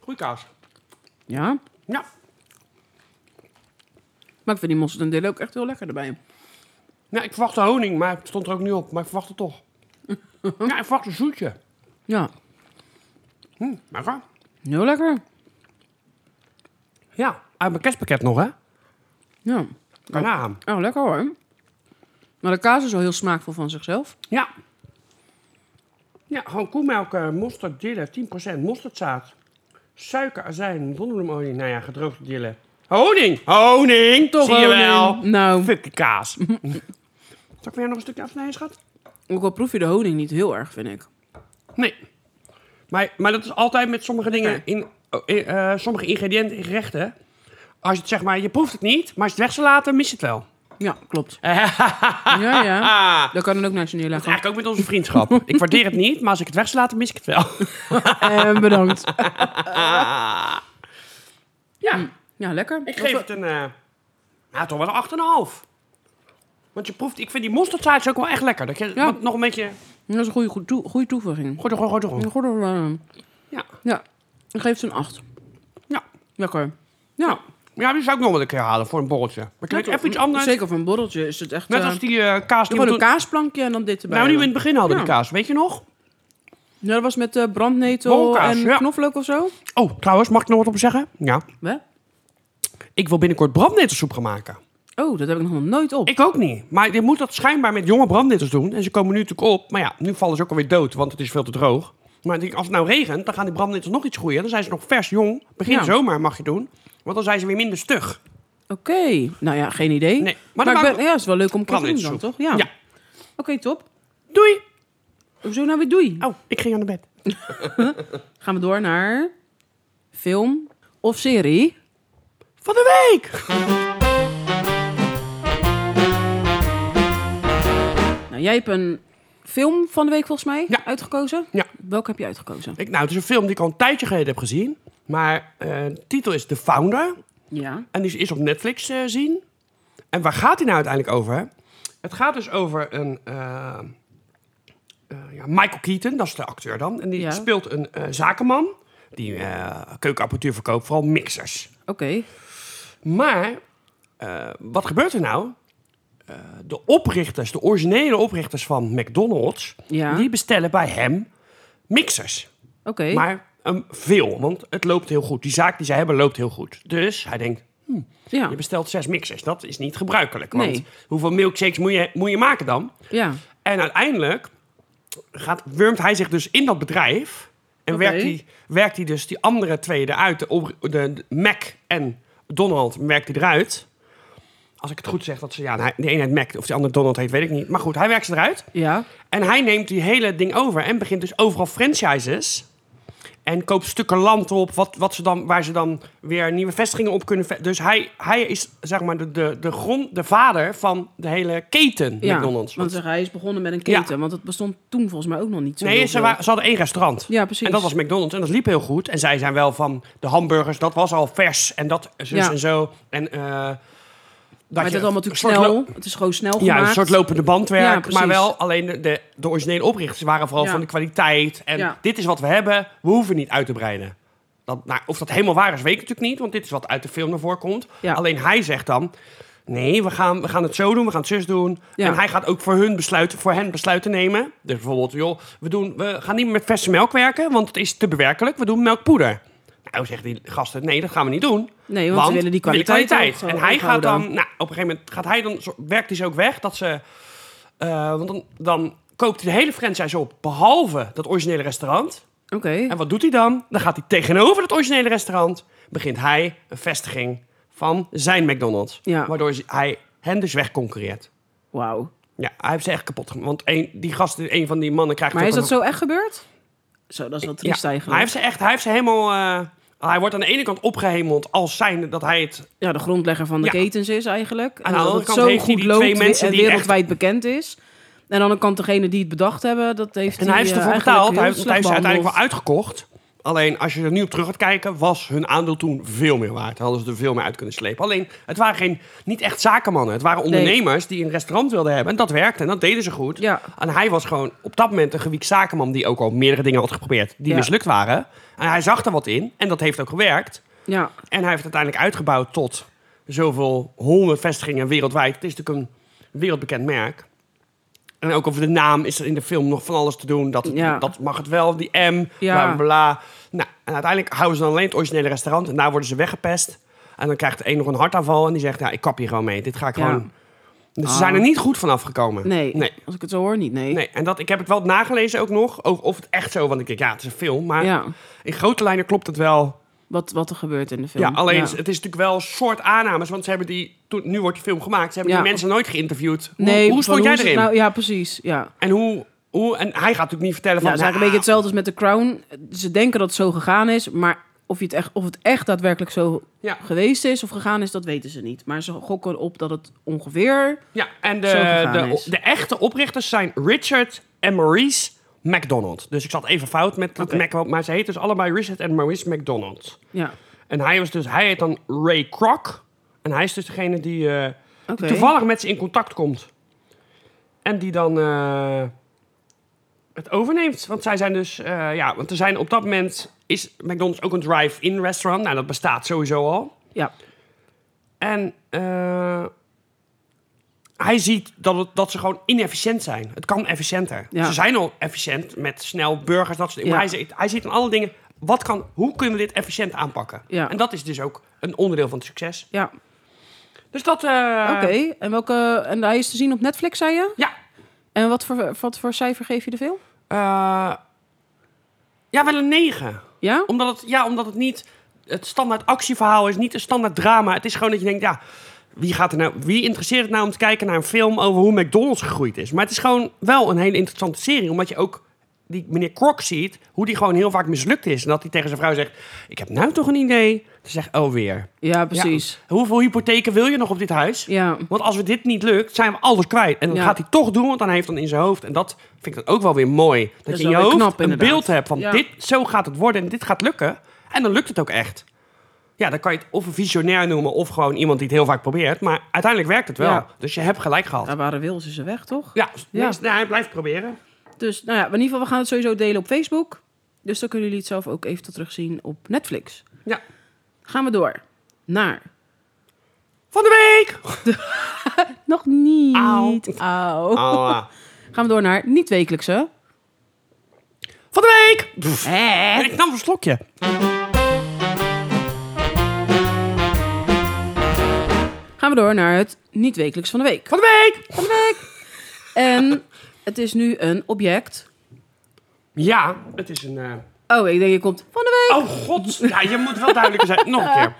A: Goeie kaas.
B: Ja.
A: Ja.
B: Maar ik vind die mozzarella ook echt heel lekker erbij.
A: Nou, ik verwachtte honing, maar het stond er ook niet op. Maar ik verwachtte toch.
B: <laughs>
A: ja, ik verwachtte een zoetje.
B: Ja,
A: Hm, lekker.
B: heel lekker.
A: Ja, uit mijn kerstpakket nog, hè?
B: Ja.
A: Kan nagaan.
B: Oh, lekker hoor. Maar de kaas is wel heel smaakvol van zichzelf.
A: Ja. Ja, gewoon koemelk, eh, mosterd, dille, 10%, mosterdzaad, suiker, azijn, dondeloemolie, nou ja, gedroogde dille. Honing! Honing! Toch Zie je
B: Honing.
A: wel?
B: Nou,
A: Fuck de kaas. <laughs> Zal ik weer nog een stukje afsnijden, schat?
B: ook al proef je de honing niet heel erg, vind ik.
A: Nee. Maar, maar dat is altijd met sommige dingen, in, oh, in, eh, sommige ingrediënten in gerechten. Als je het zeg maar, je proeft het niet, maar als je het weg zou laten, mis je het wel.
B: Ja, <laughs> klopt. ja, ja.
A: Ah,
B: Dan kan het ook naar je neerleggen.
A: eigenlijk ook met onze vriendschap. ik waardeer het niet, maar als ik het weg zou laten, mis ik het wel.
B: Eh, bedankt.
A: <laughs> ja.
B: Ja, lekker.
A: Ik geef het een. eh ja, toch wel een 8,5. Want je proeft, ik vind die mosterdzaad ook wel echt lekker. Dat je
B: Ja.
A: wat nog een beetje.
B: Dat is een goede, goede, toe- goede toevoeging.
A: Goed, goed, goed,
B: Een
A: goed.
B: goede, eh,
A: Ja.
B: ja, ik geef het een 8.
A: Ja.
B: Lekker. Ja,
A: ja, die zou ik nog wel een keer halen voor een borreltje. Maar ik weet even iets anders.
B: Zeker voor een borreltje is het echt...
A: Net
B: eh,
A: als die eh, kaas die
B: gewoon
A: we
B: een
A: toen,
B: kaasplankje en dan dit erbij.
A: nou, die we in
B: dan.
A: het begin hadden,
B: Ja.
A: die kaas. Weet je nog?
B: Ja, dat was met eh, brandnetel
A: Bolkaas,
B: en
A: ja.
B: knoflook of zo.
A: Oh, trouwens, mag ik er nog wat op zeggen? Ja.
B: Hè?
A: Ik wil binnenkort brandnetelsoep gaan maken.
B: Oh, dat heb ik nog nooit op.
A: Ik ook niet. Maar je moet dat schijnbaar met jonge brandnetels doen. En ze komen nu natuurlijk op. Maar ja, nu vallen ze ook alweer dood, want het is veel te droog. Maar ik denk, als het nou regent, dan gaan die brandnetels nog iets groeien. Dan zijn ze nog vers jong. Begin
B: Ja.
A: zomer mag je doen. Want dan zijn ze weer minder stug.
B: Oké, nou ja, geen idee.
A: Nee, maar
B: Maar,
A: dan
B: ik
A: maken
B: ben, ja, het is wel leuk om een keer te doen dan,
A: brandnetelsoep.
B: toch? Ja.
A: Ja.
B: Oké, top.
A: Doei!
B: Hoezo nou weer doei?
A: Oh, ik ging aan de bed.
B: Gaan we door naar film of serie.
A: Van de week!
B: Nou, jij hebt een film van de week volgens mij
A: Ja.
B: uitgekozen.
A: Ja.
B: Welke heb je uitgekozen?
A: Ik, nou, het is een film die ik al een tijdje geleden heb gezien. Maar eh, de titel is The Founder.
B: Ja.
A: En die is op Netflix eh, zien. En waar gaat hij nou uiteindelijk over? Het gaat dus over een. eh, eh, ja, Michael Keaton, dat is de acteur dan. En die
B: Ja.
A: speelt een eh, zakenman. Die eh keukenapparatuur verkoopt, vooral mixers.
B: Oké.
A: Maar eh, wat gebeurt er nou? Eh, de oprichters, de originele oprichters van McDonald's,
B: Ja.
A: die bestellen bij hem mixers.
B: Oké.
A: Maar ehm, veel, want het loopt heel goed. Die zaak die zij hebben loopt heel goed. Dus hij denkt,
B: Ja.
A: je bestelt zes mixers. Dat is niet gebruikelijk. Want
B: Nou. Nee.
A: hoeveel milkshakes moet je, moet je maken dan?
B: Ja.
A: En uiteindelijk gaat, wurmt hij zich dus in dat bedrijf. En
B: Oké.
A: werkt, hij, werkt hij dus die andere twee eruit. De, op- de, de Mac en Donald werkt hij eruit. Als ik het goed zeg, dat ze... Ja, de ene heet Mac, of de andere Donald heet, weet ik niet. Maar goed, hij werkt ze eruit.
B: Ja.
A: En hij neemt die hele ding over en begint dus overal franchises. En koopt stukken land op, wat, wat ze dan, waar ze dan weer nieuwe vestigingen op kunnen. ve- Dus hij, hij is zeg maar de, de, de, grond, de vader van de hele keten
B: ja.
A: McDonald's.
B: Want zeg, hij is begonnen met een
A: Ja.
B: keten, want het bestond toen volgens mij ook nog niet zo
A: nee,
B: heel
A: ze,
B: veel.
A: wa- ze hadden één restaurant.
B: Ja, precies.
A: En dat was McDonald's en dat liep heel goed. En zij zijn wel van de hamburgers, dat was al vers en dat zus
B: Ja.
A: en zo. En eh dat
B: maar
A: je
B: het allemaal
A: een
B: natuurlijk
A: soort lo-
B: snel. Het is gewoon snel gemaakt.
A: Ja, een soort lopende
B: Ja,
A: bandwerk.
B: precies.
A: maar wel, alleen de, de, de originele oprichters waren vooral
B: Ja.
A: van de kwaliteit. En
B: Ja.
A: dit is wat we hebben, we hoeven niet uit te breiden. Dat, nou, of dat helemaal waar is, weet ik natuurlijk niet. Want dit is wat uit de film naar voren komt.
B: Ja.
A: Alleen hij zegt dan... Nee, we gaan, we gaan het zo doen, we gaan het zus doen.
B: Ja.
A: En hij gaat ook voor, hun besluiten, voor hen besluiten nemen. Dus bijvoorbeeld, joh, we, doen, we gaan niet meer met verse melk werken... want het is te bewerkelijk, we doen melkpoeder. Nou, zegt die gasten, nee, dat gaan we niet doen.
B: Nee, want, ze willen die
A: we willen
B: kwaliteit. ook
A: En
B: zo
A: hij gaat
B: houden.
A: dan, nou, op een gegeven moment gaat hij dan, zo- werkt hij ze ook weg dat ze, eh, want dan, dan koopt hij de hele franchise op, behalve dat originele restaurant.
B: Oké.
A: En wat doet hij dan? Dan gaat hij tegenover dat originele restaurant, begint hij een vestiging van zijn McDonald's.
B: Ja.
A: Waardoor hij hen dus wegconcurreert.
B: Wauw.
A: Ja, hij heeft ze echt kapot gemaakt. Want een, die gast, een van die mannen krijgt...
B: Maar
A: ook
B: is dat
A: een-
B: zo echt gebeurd? Zo, dat is wel triest
A: Ja,
B: eigenlijk.
A: Hij heeft ze echt, hij heeft ze helemaal... eh, hij wordt aan de ene kant opgehemeld als zijnde dat hij het
B: Ja, de grondlegger van de
A: Ja.
B: ketens is eigenlijk. En
A: de
B: dat
A: andere
B: het
A: kant
B: zo
A: heeft hij
B: goed
A: die
B: loopt
A: twee
B: we-
A: mensen
B: en
A: die
B: wereldwijd bekend is. En aan de andere kant degene die het bedacht hebben, dat heeft
A: En hij heeft
B: eh,
A: ervoor
B: eigenlijk
A: betaald. Hij,
B: heel
A: want hij
B: slecht
A: is uiteindelijk wel
B: behandeld.
A: uitgekocht. Alleen als je er nu op terug gaat kijken, was hun aandeel toen veel meer waard. Hadden ze er veel meer uit kunnen slepen. Alleen het waren geen, niet echt zakenmannen. Het waren ondernemers die een restaurant wilden hebben. En dat werkte en dat deden ze goed.
B: Ja.
A: En hij was gewoon op dat moment een gewiekt zakenman die ook al meerdere dingen had geprobeerd die
B: Ja.
A: mislukt waren. En hij zag er wat in en dat heeft ook gewerkt.
B: Ja,
A: En hij heeft het uiteindelijk uitgebouwd tot zoveel honderd vestigingen wereldwijd. Het is natuurlijk een wereldbekend merk. En ook over de naam is er in de film nog van alles te doen. Dat,
B: Ja.
A: dat mag het wel, die M,
B: Ja.
A: bla bla bla. Nou, en uiteindelijk houden ze dan alleen het originele restaurant en daar worden ze weggepest. En dan krijgt de een nog een hartaanval en die zegt, ja, ik kap hier gewoon mee. Dit ga ik
B: Ja.
A: gewoon... Dus ze
B: Ah.
A: zijn er niet goed van afgekomen.
B: nee.
A: Nee.
B: Als ik het zo hoor, niet, nee.
A: Nee, en dat, ik heb het wel nagelezen ook nog, of, of het echt zo, want ik denk, ja, het is een film. Maar
B: Ja,
A: in grote lijnen klopt het wel
B: wat, wat er gebeurt in de film.
A: ja, alleen het is natuurlijk wel een soort aannames, want ze hebben die, toen, nu wordt die film gemaakt, ze hebben
B: Ja.
A: die mensen nooit geïnterviewd. Hoe,
B: nee,
A: hoe stond
B: van
A: jij
B: is het
A: erin?
B: nou- ja, precies. Ja.
A: En hoe, hoe, en hij gaat natuurlijk niet vertellen
B: Ja,
A: van,
B: het is eigenlijk een beetje
A: "Nou,
B: hetzelfde als met The Crown. Ze denken dat het zo gegaan is, maar of, je het echt, of het echt daadwerkelijk zo
A: Ja.
B: geweest is of gegaan is, dat weten ze niet. Maar ze gokken op dat het ongeveer...
A: ja, en
B: zo
A: de,
B: gegaan is.
A: de, de echte oprichters zijn Richard en Maurice McDonald. Dus ik zat even fout met dat
B: Oké.
A: Mac, maar ze heten dus allebei Richard en Maurice McDonald.
B: Ja,
A: En hij was dus, hij heet dan Ray Kroc. En hij is dus degene die, eh,
B: oké.
A: die toevallig met ze in contact komt. En die dan eh, het overneemt. Want zij zijn dus, eh, ja, want er zijn op dat moment is McDonald's ook een drive-in restaurant. Nou, dat bestaat sowieso al.
B: Ja,
A: En eh, hij ziet dat, het, dat ze gewoon inefficiënt zijn. Het kan efficiënter.
B: Ja.
A: Ze zijn al efficiënt met snel burgers, dat soort dingen.
B: Ja.
A: Maar hij ziet, hij ziet in alle dingen, wat kan, hoe kunnen we dit efficiënt aanpakken?
B: Ja.
A: En dat is dus ook een onderdeel van het succes.
B: ja.
A: Dus dat... eh,
B: Oké, en welke... En hij is te zien op Netflix, zei je?
A: Ja,
B: En wat voor, wat voor cijfer geef je de film?
A: Eh, ja, wel een 9.
B: Ja?
A: Omdat het, ja, omdat het niet het standaard actieverhaal is, niet een standaard drama. Het is gewoon dat je denkt, ja, wie, gaat er nou, wie interesseert het nou om te kijken naar een film over hoe McDonald's gegroeid is? Maar het is gewoon wel een hele interessante serie, omdat je ook die meneer Krok ziet, hoe die gewoon heel vaak mislukt is. En dat hij tegen zijn vrouw zegt, ik heb nou toch een idee. Ze zegt, oh weer.
B: Ja, precies.
A: Hoeveel hypotheken wil je nog op dit huis?
B: Ja.
A: Want als we dit niet lukt, zijn we alles kwijt. En dan
B: Ja.
A: gaat hij toch doen, want dan heeft dan in zijn hoofd. En dat vind ik dan ook wel weer mooi. Dat,
B: is
A: je in
B: wel
A: je
B: weer
A: hoofd
B: knap,
A: een
B: inderdaad.
A: beeld hebt van
B: Ja.
A: dit, zo gaat het worden en dit gaat lukken. En dan lukt het ook echt. Ja, dan kan je het of een visionair noemen of gewoon iemand die het heel vaak probeert. Maar uiteindelijk werkt het wel.
B: Ja.
A: Dus je hebt gelijk gehad.
B: Daar waren Wils is ze weg, toch?
A: Ja,
B: Ja.
A: nee, hij blijft proberen.
B: Dus nou ja, in ieder geval, we gaan het sowieso delen op Facebook. Dus dan kunnen jullie het zelf ook even tot terugzien op Netflix.
A: Ja.
B: Gaan we door naar...
A: Van de week!
B: Nog niet.
A: Auw.
B: Auw.
A: Ah.
B: Gaan we door naar niet-wekelijkse.
A: <laughs> Van de week! Pff,
B: Hè?
A: Ik nam een slokje.
B: Gaan we door naar het niet-wekelijks van de week.
A: Van de week!
B: Van de week. En het is nu een object.
A: Ja, het is een... eh,
B: Oh, ik denk je komt van de week.
A: Oh god, ja, je moet wel duidelijker zijn. Nog een
B: <laughs>
A: keer.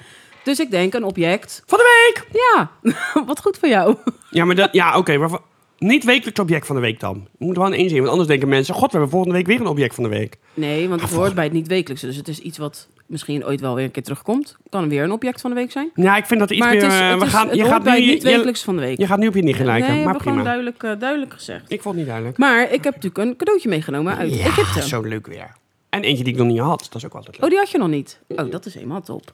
B: Dus ik denk een object.
A: Van de week!
B: Ja, <laughs> wat goed voor jou.
A: Ja, maar dat, ja, oké. maar va- niet wekelijks object van de week dan. Je moet er wel in inzien, want anders denken mensen... God, we hebben volgende week weer een object van de week.
B: Nee, want het hoort bij het niet-wekelijkse. Dus het is iets wat misschien ooit wel weer een keer terugkomt. Kan weer een object van de week zijn.
A: Ja, ik vind dat iets
B: Maar
A: meer...
B: het, is,
A: eh,
B: het,
A: we
B: is-
A: gaan,
B: het
A: je
B: hoort
A: gaat nu,
B: bij het
A: je-
B: niet-wekelijks van de
A: je,
B: week.
A: je gaat nu op je niet gelijken,
B: nee,
A: maar
B: hebben we gewoon
A: prima.
B: duidelijk, eh, duidelijk gezegd.
A: Ik vond het niet duidelijk.
B: Maar ik heb natuurlijk een cadeautje meegenomen uit Egypte.
A: zo leuk weer. En eentje die ik nog niet had, dat is ook altijd leuk.
B: Oh, die had je nog niet. Oh, dat is helemaal top.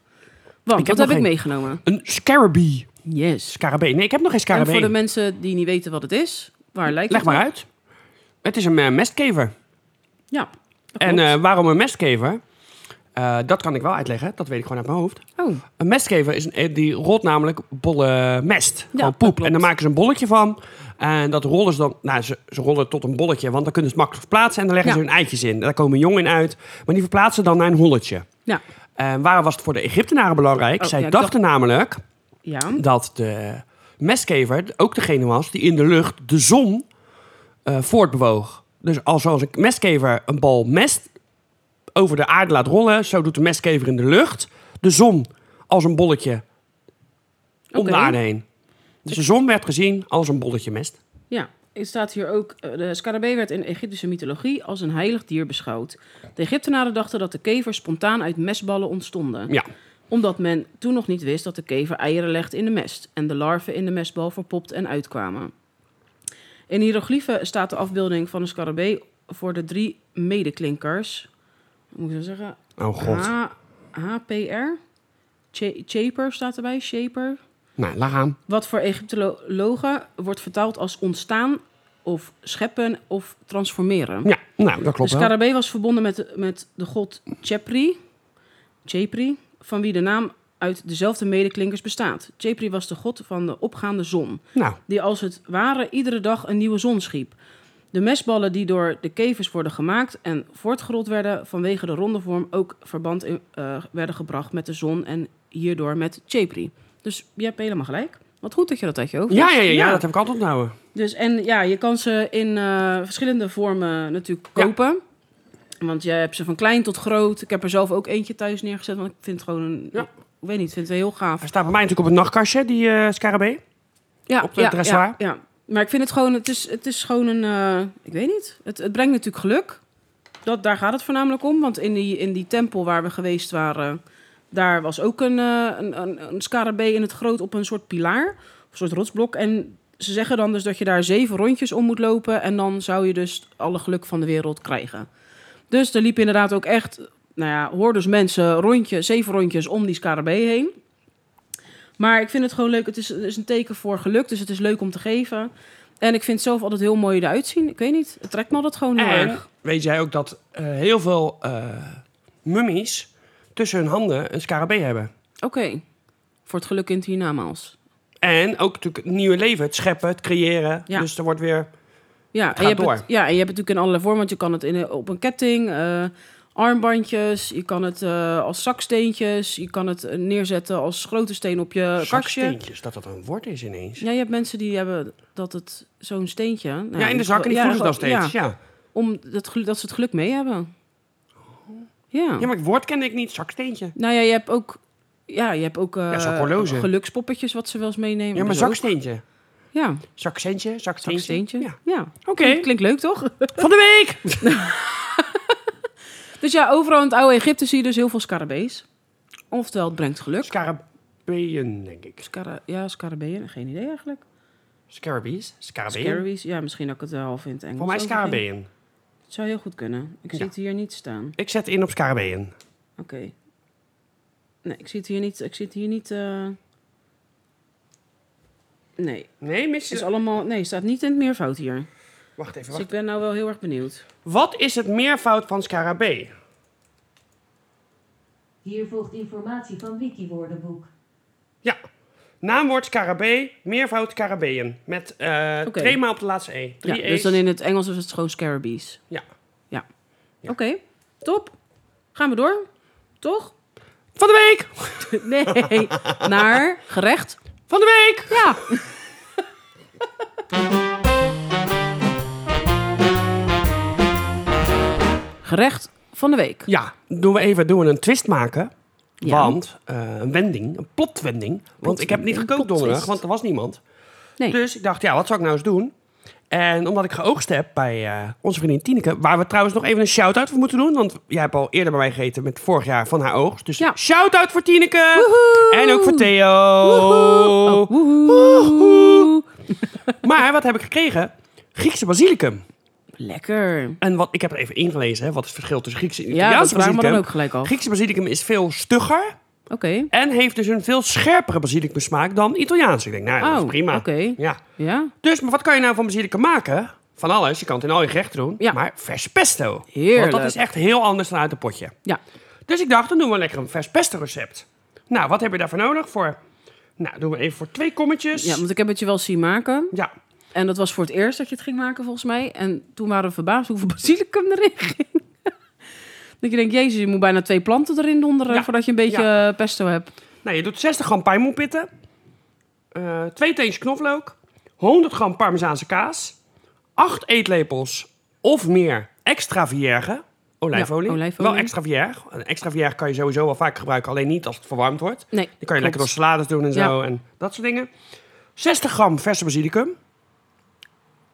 B: Want
A: Ik
B: wat
A: heb nog
B: heb ik
A: geen.
B: meegenomen?
A: Een scarabee.
B: Yes.
A: Scarabee? Nee, ik heb nog geen
B: En voor
A: scarabee.
B: de mensen die niet weten wat het is, waar lijkt
A: Leg
B: het
A: maar
B: op?
A: uit. Het is een eh, mestkever.
B: Ja. dat
A: En
B: klopt.
A: eh, waarom een mestkever? Eh, dat kan ik wel uitleggen, dat weet ik gewoon uit mijn hoofd.
B: oh,
A: Een mestgever is een, eh, die rolt namelijk bolle mest. gewoon
B: dat
A: poep.
B: klopt.
A: En daar maken ze een bolletje van. En dat rollen ze dan. Nou, ze, ze rollen het tot een bolletje, want dan kunnen ze het makkelijk verplaatsen. En dan leggen
B: Ja.
A: ze hun eitjes in. En daar komen jongen in uit. Maar die verplaatsen dan naar een holletje.
B: ja.
A: En waarom was het voor de Egyptenaren belangrijk?
B: Oh,
A: Zij
B: ja, ik
A: dachten namelijk
B: Ja.
A: dat de mestkever ook degene was die in de lucht de zon eh, voortbewoog. Dus als, als een mestkever een bal mest over de aarde laat rollen, zo doet de mestkever in de lucht de zon als een bolletje om
B: Oké.
A: de aarde heen. Dus de zon werd gezien als een bolletje mest.
B: Ja. Er staat hier ook, eh, de scarabee werd in Egyptische mythologie als een heilig dier beschouwd. De Egyptenaren dachten dat de kevers spontaan uit mestballen ontstonden.
A: Ja,
B: Omdat men toen nog niet wist dat de kever eieren legt in de mest en de larven in de mestbal verpopt en uitkwamen. In hieroglyphen staat de afbeelding van een scarabee voor de drie medeklinkers. Hoe moet ik dat zeggen?
A: Oh god.
B: H- HPR. Cha- Shaper staat erbij, Shaper.
A: Nou, laat gaan.
B: Wat voor Egyptologen wordt vertaald als ontstaan of scheppen of transformeren.
A: Ja, nou, dat
B: de
A: klopt wel.
B: scarabee was verbonden met, met de god Chepri, Chepri, van wie de naam uit dezelfde medeklinkers bestaat. Chepri was de god van de opgaande zon,
A: Nou,
B: die als het ware iedere dag een nieuwe zon schiep. De mesballen die door de kevers worden gemaakt en voortgerold werden vanwege de ronde vorm ook verband in, eh, werden gebracht met de zon en hierdoor met Chepri. Dus je hebt helemaal gelijk. Wat goed dat je dat uit je hoofd
A: ja,
B: hebt.
A: ja, ja, ja, dat heb ik altijd onthouden.
B: Dus en ja, je kan ze in eh, verschillende vormen natuurlijk
A: Ja.
B: kopen. Want je hebt ze van klein tot groot. Ik heb er zelf ook eentje thuis neergezet, want ik vind het gewoon een...
A: Ja.
B: Ik weet niet, ik vind het heel gaaf.
A: Hij staat bij mij natuurlijk op het nachtkastje, die eh scarabee.
B: Ja,
A: op de
B: ja,
A: dressoir.
B: Ja, ja. Maar ik vind het gewoon, het is, het is gewoon een, eh, ik weet niet, het, het brengt natuurlijk geluk. Dat, daar gaat het voornamelijk om, want in die, in die tempel waar we geweest waren, daar was ook een, eh, een, een, een scarabee in het groot op een soort pilaar, een soort rotsblok. En ze zeggen dan dus dat je daar zeven rondjes om moet lopen en dan zou je dus alle geluk van de wereld krijgen. Dus er liepen inderdaad ook echt, nou ja, hoor dus mensen rondje, zeven rondjes om die scarabee heen. Maar ik vind het gewoon leuk. Het is, het is een teken voor geluk, dus het is leuk om te geven. En ik vind het zelf altijd heel mooi eruit zien. Ik weet niet, het trekt me altijd gewoon heel
A: En
B: erg.
A: weet jij ook dat eh, heel veel eh, mummies tussen hun handen een scarabee hebben?
B: Oké, voor het geluk in het hiernamaals.
A: En ook natuurlijk het nieuwe leven, het scheppen, het creëren.
B: Ja.
A: Dus er wordt weer...
B: Ja, en
A: gaat
B: je hebt
A: door.
B: Het, ja, en je hebt het natuurlijk in allerlei vormen. Want je kan het in, op een ketting, eh, armbandjes. Je kan het eh, als zaksteentjes. Je kan het eh, neerzetten als grote steen op je kastje.
A: Zaksteentjes, dat dat een woord is ineens. Ja,
B: Ja, je hebt mensen die hebben dat het zo'n steentje... nou
A: in de zak en die voelen ze nog
B: gewoon-
A: steeds.
B: ja,
A: Ja.
B: om dat, gelu- dat ze het geluk mee hebben. Ja.
A: Oh. ja, maar het woord kende ik niet, zaksteentje.
B: Nou ja, je hebt ook, ja, je hebt ook eh,
A: Ja, zo'n horloge.
B: gelukspoppetjes wat ze wel eens meenemen.
A: Ja, maar
B: Dus ook-
A: zaksteentje.
B: Ja,
A: Zaksteentje, zaksteentje.
B: zaksteentje.
A: Ja.
B: Ja.
A: Oké,
B: Klinkt, klinkt leuk, toch?
A: van de week!
B: Dus ja, overal in het oude Egypte zie je dus heel veel scarabees. Oftewel, het brengt geluk.
A: Scarabeeën, denk ik.
B: Scara ja, scarabeeën, geen idee eigenlijk.
A: Scarabees? Scarabeeën?
B: Scarabees, ja, misschien dat ik het wel half in het Engels
A: Voor mij
B: overging.
A: scarabeeën.
B: Het zou heel goed kunnen. Ik
A: Ja.
B: zie het hier niet staan.
A: Ik zet in op scarabeeën.
B: Oké. Nee, ik zie het hier niet... Ik zie het hier niet eh, Nee,
A: Nee,
B: het
A: mis
B: is allemaal... Nee, het staat niet in het meervoud hier.
A: Wacht even,
B: Dus
A: wacht.
B: ik ben nou wel heel erg benieuwd.
A: Wat is het meervoud van scarabee?
C: Hier volgt informatie van Wikiwoordenboek.
A: Ja. Naamwoord scarabee, meervoud scarabeeën. Met eh
B: Oké.
A: twee maal op de laatste E. Drie
B: ja,
A: E's.
B: dus dan in het Engels is het gewoon scarabees.
A: Ja.
B: Ja.
A: Ja.
B: Oké, top. Gaan we door. Toch?
A: Van de week!
B: Nee. Naar gerecht.
A: Van de week!
B: Ja. gerecht van de week.
A: Ja, doen we even doen we een twist maken.
B: Ja.
A: Want eh, een wending, een plotwending. Want ik heb niet
B: Plotwending,
A: gekookt donderdag,
B: plottwist.
A: want er was niemand.
B: Nee.
A: Dus ik dacht, ja, wat zou ik nou eens doen? En omdat ik geoogst heb bij eh, onze vriendin Tineke, waar we trouwens nog even een shout-out voor moeten doen. Want jij hebt al eerder bij mij gegeten met vorig jaar van haar oogst. Dus
B: Ja.
A: shout-out voor Tineke!
B: Woehoe!
A: En ook voor Theo!
B: Woehoe! Oh, woehoe.
A: Woehoe. Maar wat heb ik gekregen? Griekse basilicum.
B: Lekker.
A: En wat, ik heb er even ingelezen, hè, wat is het verschil tussen Griekse en
B: Ja, dat
A: Italiaanse
B: vragen we
A: basilicum.
B: dan ook gelijk al.
A: Griekse basilicum is veel stugger
B: Oké.
A: en heeft dus een veel scherpere basilicummsmaak dan Italiaans. Ik denk, nou, ja, dat
B: Oh,
A: is prima.
B: oké.
A: Ja.
B: Ja,
A: Dus, maar wat kan je nou van basilicum maken? Van alles, je kan het in al je gerechten doen,
B: Ja.
A: maar vers pesto.
B: Heerlijk.
A: Want dat is echt heel anders dan uit een potje.
B: ja.
A: Dus ik dacht, dan doen we lekker een vers pesto recept. Nou, wat heb je daarvoor nodig? Voor, nou, doen we even voor twee kommetjes.
B: ja, want ik heb het je wel zien maken.
A: Ja.
B: En dat was voor het eerst dat je het ging maken, volgens mij. En toen waren we verbaasd hoeveel <laughs> basilicum erin ging. <laughs> dat je denkt, jezus, je moet bijna twee planten erin donderen...
A: Ja,
B: voordat je een beetje eh, pesto hebt.
A: Nou, je doet 60 gram pijnmoepitten, eh 2 teentjes knoflook, 100 gram parmezaanse kaas, 8 eetlepels of meer extra vierge olijfolie.
B: Ja, olijfolie.
A: Wel extra vierge. Een extra vierge kan je sowieso wel vaak gebruiken, alleen niet als het verwarmd wordt.
B: Nee,
A: Die kan je lekker door salades doen en zo en dat soort dingen. 60 gram verse basilicum.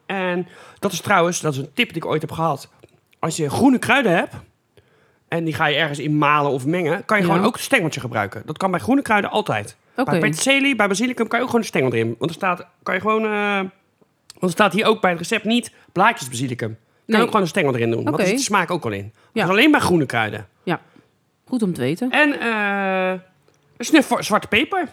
A: En dat is trouwens, dat is een tip die ik ooit heb gehad. Als je groene kruiden hebt en die ga je ergens in malen of mengen, kan je
B: Ja.
A: gewoon ook een stengeltje gebruiken. Dat kan bij groene kruiden altijd.
B: Oké.
A: Bij peterselie, bij basilicum kan je ook gewoon een stengel erin. Want er staat, kan je gewoon, eh, want er staat hier ook bij het recept niet blaadjes basilicum. Je kan
B: Nee.
A: ook gewoon een stengel erin doen. Want
B: Oké.
A: er zit de smaak ook al in.
B: Ja.
A: Dat is alleen bij groene kruiden.
B: Ja. Goed om te weten.
A: En eh, een snuf voor zwarte peper.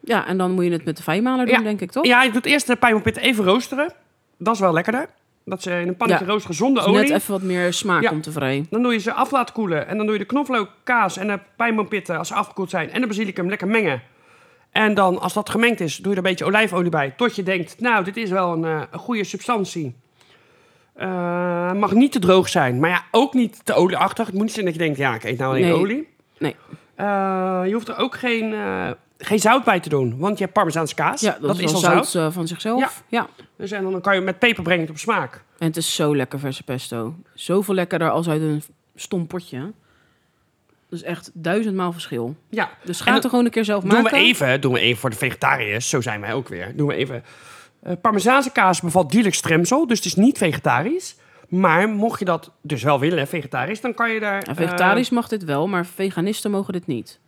B: Ja, en dan moet je het met de fijnmaler doen,
A: Ja.
B: denk ik, toch?
A: Ja, ik doe eerst de pijnpopit even roosteren. Dat is wel lekkerder. Dat ze in een pannetje
B: Ja.
A: roosteren zonder
B: Dus
A: olie.
B: net even wat meer smaak
A: Ja.
B: komt er vrij.
A: Dan doe je ze af laten koelen. En dan doe je de knoflook, kaas en de pijnboompitten als ze afgekoeld zijn. En de basilicum lekker mengen. En dan, als dat gemengd is, doe je er een beetje olijfolie bij. Tot je denkt, nou, dit is wel een, eh, een goede substantie. Eh, mag niet te droog zijn. Maar ja, ook niet te olieachtig. Het moet niet zijn dat je denkt, ja, ik eet nou alleen
B: Nee.
A: olie.
B: Nee.
A: Eh, je hoeft er ook geen, eh, geen zout bij te doen. Want je hebt parmezaanse kaas.
B: Ja, dat, is al zout, eh, van zichzelf. Ja.
A: Dus, en dan kan je met peper brengen het op smaak.
B: En het is zo lekker verse pesto. Zoveel lekkerder als uit een stom potje. hè. Dat is echt duizendmaal verschil.
A: Ja,
B: Dus
A: En
B: ga het er
A: dat-
B: gewoon een keer zelf
A: Doen
B: maken.
A: we, even, doen we even voor de vegetariërs, zo zijn wij ook weer. Doen we even. Eh Parmezaanse kaas bevat dierlijk stremsel, dus het is niet vegetarisch. Maar mocht je dat dus wel willen, vegetarisch, dan kan je daar.
B: Ja, vegetarisch
A: eh,
B: mag dit wel, maar veganisten mogen dit niet.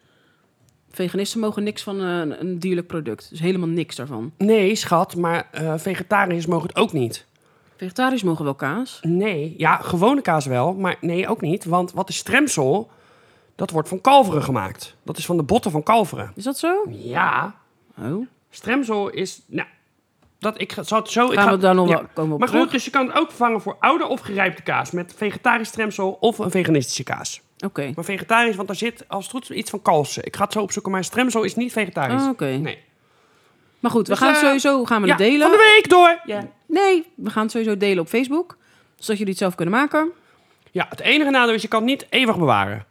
B: Veganisten mogen niks van eh, een, een dierlijk product. Dus helemaal niks daarvan.
A: eh, nee, schat, maar eh vegetariërs mogen het ook niet.
B: Vegetarisch mogen wel kaas.
A: Nee, ja, gewone kaas wel, maar nee, ook niet. Want wat is stremsel? Dat wordt van kalveren gemaakt. Dat is van de botten van kalveren.
B: Is dat zo?
A: Ja,
B: Oh.
A: stremsel is. Nou, dat, ik ga- zal het zo. ik
B: Gaan
A: ga-
B: we daar nog
A: ja.
B: wel komen op
A: Maar
B: terug?
A: goed, dus je kan het ook vervangen voor oude of gerijpte kaas met vegetarisch tremsel of een veganistische kaas.
B: Oké.
A: Maar vegetarisch, want daar zit als het goed is iets van kalsen. Ik ga het zo opzoeken, maar stremsel is niet vegetarisch.
B: Ah, oké.
A: Nee.
B: Maar goed, we
A: Dus,
B: gaan het
A: eh,
B: sowieso gaan we het delen.
A: Van de week door. Ja.
B: Nee, we gaan het sowieso delen op Facebook. Zodat jullie het zelf kunnen maken.
A: het enige nadeel is je kan het niet eeuwig bewaren. Je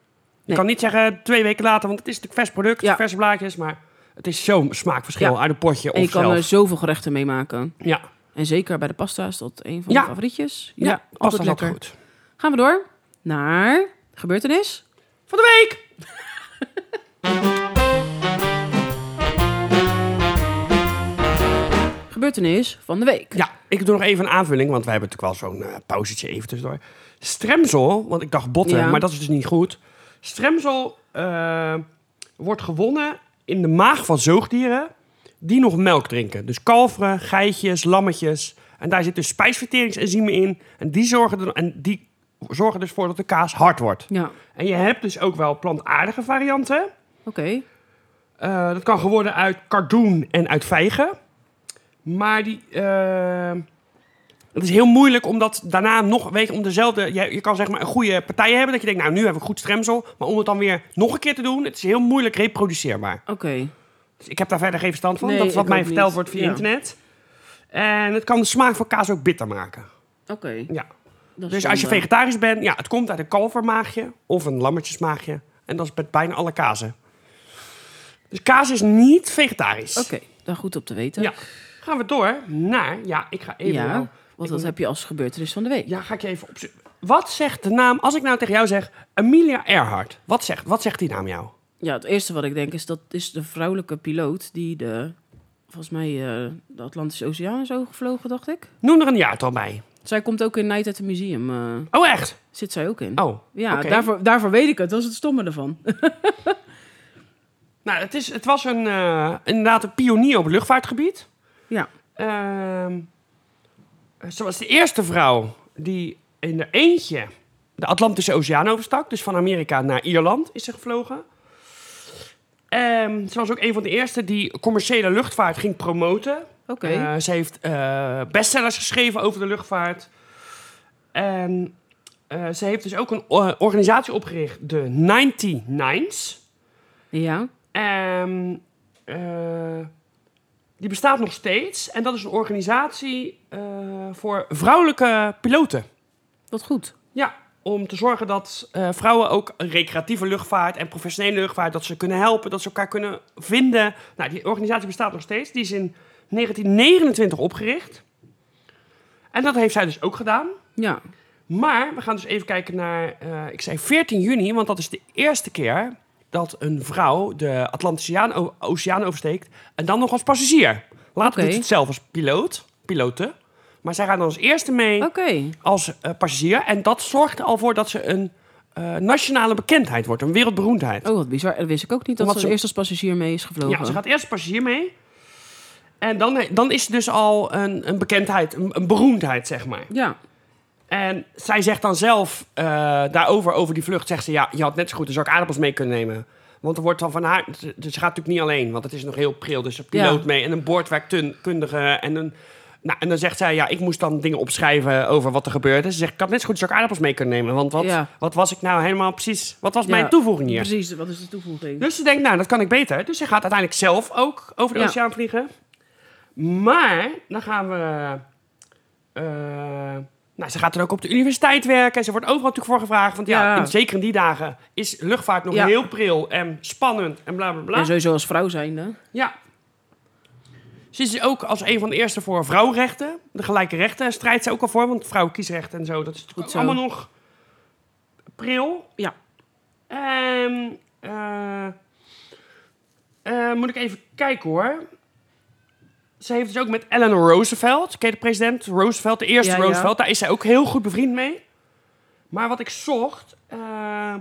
B: Nee.
A: kan niet zeggen twee weken later, want het is natuurlijk vers product,
B: Ja.
A: verse blaadjes, maar het is zo'n smaakverschil
B: Ja.
A: uit een potje
B: En je
A: of
B: kan dus- er
A: zelf.
B: zoveel gerechten mee maken.
A: Ja,
B: En zeker bij de pasta is dat een van
A: Ja.
B: mijn favorietjes.
A: ja, past dat altijd goed.
B: Gaan we door naar gebeurtenis.
A: Van de week.
B: Gebeurtenis van de week.
A: Ja, ik doe nog even een aanvulling, want wij hebben natuurlijk wel zo'n eh, pauzetje even tussendoor. Stremsel, want ik dacht botten,
B: Ja.
A: maar dat is dus niet goed. Stremsel eh, wordt gewonnen in de maag van zoogdieren die nog melk drinken. Dus kalveren, geitjes, lammetjes. En daar zitten dus spijsverteringsenzymen in. En die zorgen, er, en die zorgen dus voor dat de kaas hard wordt.
B: Ja,
A: En je hebt dus ook wel plantaardige varianten.
B: oké.
A: Eh, dat kan geworden uit cardoen en uit vijgen. Maar die, eh, het is heel moeilijk omdat daarna nog weet je, om dezelfde. Je, je kan zeg maar een goede partij hebben. Dat je denkt, nou nu heb ik goed stremsel. Maar om het dan weer nog een keer te doen, het is heel moeilijk reproduceerbaar.
B: Oké.
A: Dus ik heb daar verder geen verstand van.
B: Nee,
A: dat is wat
B: ik
A: mij
B: ook
A: verteld
B: niet.
A: wordt via
B: Ja.
A: internet. En het kan de smaak van kaas ook bitter maken.
B: Oké.
A: Ja.
B: dat is
A: Dus als je
B: zonde.
A: vegetarisch bent, ja, het komt uit een kalvermaagje of een lammetjesmaagje. En dat is met bijna alle kazen. Dus kaas is niet vegetarisch.
B: Oké, daar goed op te weten.
A: Ja. Gaan we door naar. Ja, ik ga even.
B: Ja,
A: nou-
B: want
A: ik-
B: dat heb je als gebeurtenis van de week.
A: Ja, ga ik je even opzoeken. Wat zegt de naam, als ik nou tegen jou zeg, Amelia Earhart, wat zegt, wat zegt die naam jou?
B: Ja, het eerste wat ik denk is dat is de vrouwelijke piloot die de, volgens mij, eh, de Atlantische Oceaan is overgevlogen, dacht ik.
A: Noem er een jaartal bij.
B: Zij komt ook in Night at the Museum, eh,
A: Oh, echt?
B: zit zij ook in.
A: Oh,
B: ja,
A: oké.
B: daarvoor, daarvoor weet ik het, dat is het stomme
A: <laughs>
B: ervan.
A: Nou, het, is, het was een, eh, inderdaad een pionier op het luchtvaartgebied.
B: ja,
A: Ehm, ze was de eerste vrouw die in haar eentje de Atlantische Oceaan overstak. Dus van Amerika naar Ierland is ze gevlogen. Ehm, ze was ook een van de eerste die commerciële luchtvaart ging promoten.
B: oké.
A: Eh, ze heeft eh, bestsellers geschreven over de luchtvaart. En eh, ze heeft dus ook een o- organisatie opgericht, de 99's.
B: ja,
A: Ehm, eh, die bestaat nog steeds. En dat is een organisatie eh, voor vrouwelijke piloten.
B: wat goed.
A: Ja, om te zorgen dat eh, vrouwen ook recreatieve luchtvaart en professionele luchtvaart... dat ze kunnen helpen, dat ze elkaar kunnen vinden. Nou, die organisatie bestaat nog steeds. Die is in 1929 opgericht. En dat heeft zij dus ook gedaan.
B: Ja,
A: Maar we gaan dus even kijken naar, eh, ik zei 14 juni, want dat is de eerste keer dat een vrouw de Atlantische Oceaan- o- Oceaan oversteekt. En dan nog als passagier. Later
B: Oké.
A: doet ze het zelf als piloot, piloten. Maar zij gaan dan als eerste mee
B: oké.
A: als eh, passagier. En dat zorgt er al voor dat ze een eh, nationale bekendheid wordt, een wereldberoemdheid.
B: Oh, wat bizar. Dat wist ik ook niet dat
A: Omdat
B: ze
A: ze-
B: eerst als passagier mee is gevlogen.
A: Ja, ze gaat eerst als passagier mee. eh, En dan, dan is ze dus al een, een bekendheid, een, een beroemdheid, zeg maar.
B: Ja,
A: En zij zegt dan zelf eh, daarover, over die vlucht, zegt ze... ja, je had net zo goed een zak aardappels mee kunnen nemen. Want er wordt dan van haar... Ze, ze gaat natuurlijk niet alleen, want het is nog heel pril. Dus een piloot
B: Ja.
A: mee en een boordwerkkundige en een... Nou, en dan zegt zij, ja, ik moest dan dingen opschrijven over wat er gebeurde. Ze zegt, ik had net zo goed een zak aardappels mee kunnen nemen. Want wat,
B: Ja.
A: wat was ik nou helemaal precies... Wat was
B: Ja.
A: mijn toevoeging hier?
B: Precies, wat is de toevoeging?
A: Dus ze denkt, nou, dat kan ik beter. Dus ze gaat uiteindelijk zelf ook over de
B: Ja.
A: oceaan vliegen. Maar dan gaan we. eh, nou, ze gaat dan ook op de universiteit werken. Ze wordt overal natuurlijk voor gevraagd. Want ja,
B: Ja.
A: in- zeker in die dagen is luchtvaart nog
B: Ja.
A: heel pril en spannend en bla bla bla.
B: En sowieso als vrouw zijnde.
A: Ja. Ze is ook als een van de eerste voor vrouwenrechten. De gelijke rechten strijdt ze ook al voor. Want vrouwenkiesrecht en zo, dat is natuurlijk
B: Goed
A: ook
B: zo.
A: allemaal nog pril.
B: Ja.
A: Ehm, eh, eh, moet ik even kijken hoor. Ze heeft dus ook met Eleanor Roosevelt, ken je de president Roosevelt, de eerste
B: Ja, ja.
A: Roosevelt, daar is zij ook heel goed bevriend mee. Maar wat ik zocht, eh,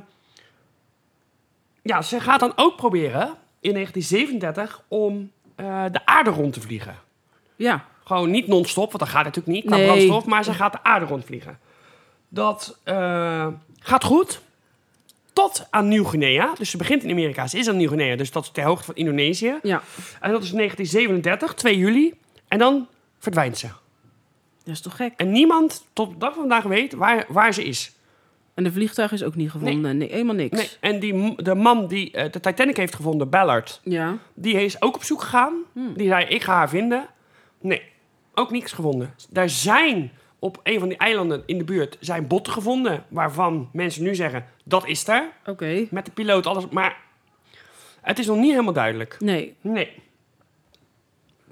A: ja, ze gaat dan ook proberen in 1937 om eh, de aarde rond te vliegen.
B: Ja,
A: Gewoon niet non-stop, want dat gaat natuurlijk niet qua
B: Nee.
A: brandstof. Maar ze gaat de aarde rondvliegen. Dat eh, gaat goed. Tot aan Nieuw-Guinea. Dus ze begint in Amerika. Ze is aan Nieuw-Guinea. Dus dat is ter hoogte van Indonesië.
B: ja.
A: En dat is 1937, 2 juli. En dan verdwijnt ze.
B: Dat is toch gek?
A: En niemand tot de dag van vandaag weet waar, waar ze is.
B: En de vliegtuig is ook niet gevonden. Nee, helemaal niks.
A: Nee. En die, m- de man die eh, de Titanic heeft gevonden, Ballard...
B: Ja,
A: Die is ook op zoek gegaan.
B: Hmm.
A: Die zei, ik ga haar vinden. Nee, ook niks gevonden. Daar zijn op een van die eilanden in de buurt zijn botten gevonden... waarvan mensen nu zeggen, dat is daar.
B: oké.
A: Met de piloot, alles. Maar het is nog niet helemaal duidelijk.
B: Nee,
A: Nee.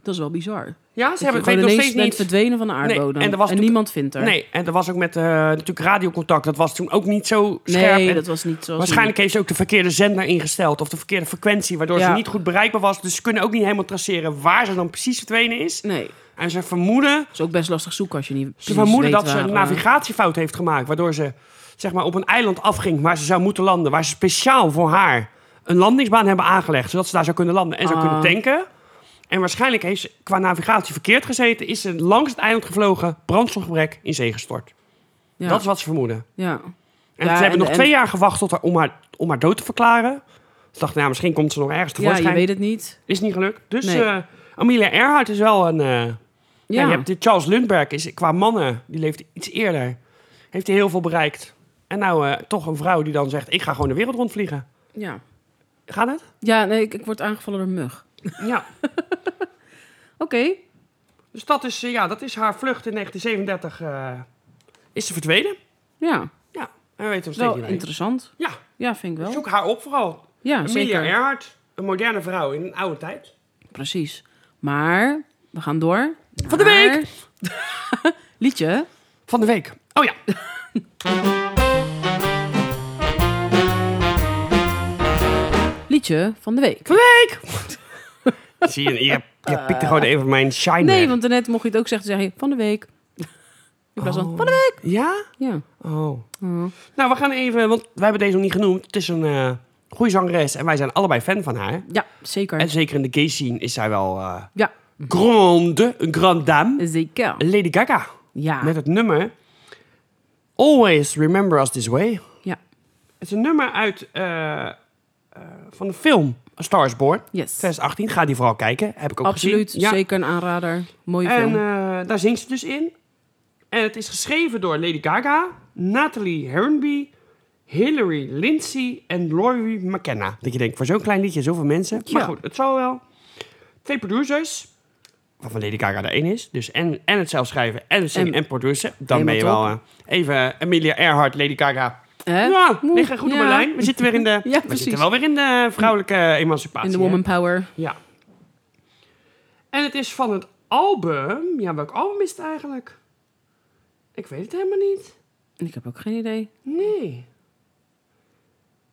B: dat is wel bizar.
A: Ja, ze
B: Dat
A: hebben
B: je
A: het
B: gewoon
A: nog
B: ineens
A: steeds
B: bent
A: niet...
B: verdwenen van de aardbodem.
A: en er was natuurlijk-
B: niemand vindt haar.
A: Nee, en er was ook met eh, natuurlijk radiocontact. Dat was toen ook niet zo scherp.
B: Nee,
A: en
B: dat was niet zoals...
A: Waarschijnlijk heeft ze ook de verkeerde zender ingesteld... of de verkeerde frequentie, waardoor ze
B: Ja.
A: niet goed bereikbaar was. Dus ze kunnen ook niet helemaal traceren waar ze dan precies verdwenen is.
B: Nee,
A: En ze vermoeden
B: dat is ook best lastig zoeken als je niet
A: Ze
B: precies
A: vermoeden
B: weet
A: dat ze
B: waar,
A: een
B: eh,
A: navigatiefout heeft gemaakt. Waardoor ze zeg maar, op een eiland afging waar ze zou moeten landen. Waar ze speciaal voor haar een landingsbaan hebben aangelegd. Zodat ze daar zou kunnen landen en zou
B: Ah.
A: kunnen tanken. En waarschijnlijk heeft ze qua navigatie verkeerd gezeten. Is ze langs het eiland gevlogen, brandstofgebrek, in zee gestort.
B: eh, Ja,
A: Dat is wat ze vermoeden.
B: ja.
A: En
B: Ja,
A: ze hebben
B: en-
A: nog
B: en-
A: twee jaar gewacht tot haar, om, haar, om haar dood te verklaren. Ze dachten, nou, misschien komt ze nog ergens
B: ja,
A: tevoorschijn.
B: je weet het niet.
A: Is niet gelukt. Dus
B: Nee.
A: eh, Amelia Earhart is wel een... eh, ja.
B: Ja,
A: je hebt de Charles Lundberg is qua mannen, die leeft iets eerder. Heeft hij heel veel bereikt. En nou eh, toch een vrouw die dan zegt, ik ga gewoon de wereld rondvliegen.
B: ja.
A: Gaat het?
B: ja nee, ik, ik word aangevallen door een mug.
A: <laughs> Ja.
B: Oké,
A: Dus dat is, eh, ja, dat is haar vlucht in 1937. eh, is ze verdwenen?
B: ja.
A: Ja. En we weten nog steeds
B: Wel
A: niet waar.
B: interessant.
A: Ja,
B: Ja, vind ik wel.
A: zoek haar op vooral.
B: Ja,
A: Amelia
B: zeker.
A: Earhart, een moderne vrouw in een oude tijd.
B: Precies. Maar, we gaan door.
A: Van de
B: naar-
A: week!
B: <laughs> Liedje.
A: Van de week. Oh ja.
B: Liedje van de week.
A: Van de week! <laughs> Zie je, je, je pikt er gewoon even mijn shine
B: Nee,
A: weg.
B: want daarnet mocht je het ook zeggen. Dan zeg je van de week. <laughs> In plaats van
A: Oh.
B: van de
A: Ja?
B: week. Ja.
A: Oh.
B: Mhm.
A: Nou, we gaan even, want wij hebben deze nog niet genoemd. Het is een eh goede zangeres en wij zijn allebei fan van haar.
B: Ja, zeker.
A: En zeker in de gay scene is zij wel eh,
B: Ja,
A: grande, een grande dame.
B: zeker.
A: Lady Gaga.
B: Ja.
A: Met het nummer Always Remember Us This Way.
B: Ja.
A: Het is een nummer uit eh, eh, van de film A Star is Born.
B: Yes.
A: 2018. Ga die vooral kijken. Heb ik ook
B: Absoluut.
A: gezien. Ja.
B: Zeker een aanrader. Mooie
A: En
B: film.
A: eh, daar zingt ze dus in. En het is geschreven door Lady Gaga, Natalie Herrenby, Hillary Lindsay en Laurie McKenna. Dat je denkt, voor zo'n klein liedje zoveel mensen. Maar
B: Ja.
A: goed, het zal wel. Twee producers, waarvan Lady Gaga er één is. Dus en, en het zelf schrijven en het zingen en,
B: En-
A: produceren. Dan ben
B: Helemaal
A: je wel eh, even Amelia Earhart, Lady Gaga.
B: Hè?
A: Ja, liggen goed op
B: <laughs> Ja.
A: een lijn. We zitten weer in de, we
B: precies.
A: zitten wel weer in de vrouwelijke emancipatie.
B: In de
A: hè?
B: woman power.
A: Ja. En het is van het album. Ja, welk album is het eigenlijk? Ik weet het helemaal niet.
B: Ik heb ook geen idee.
A: Nee.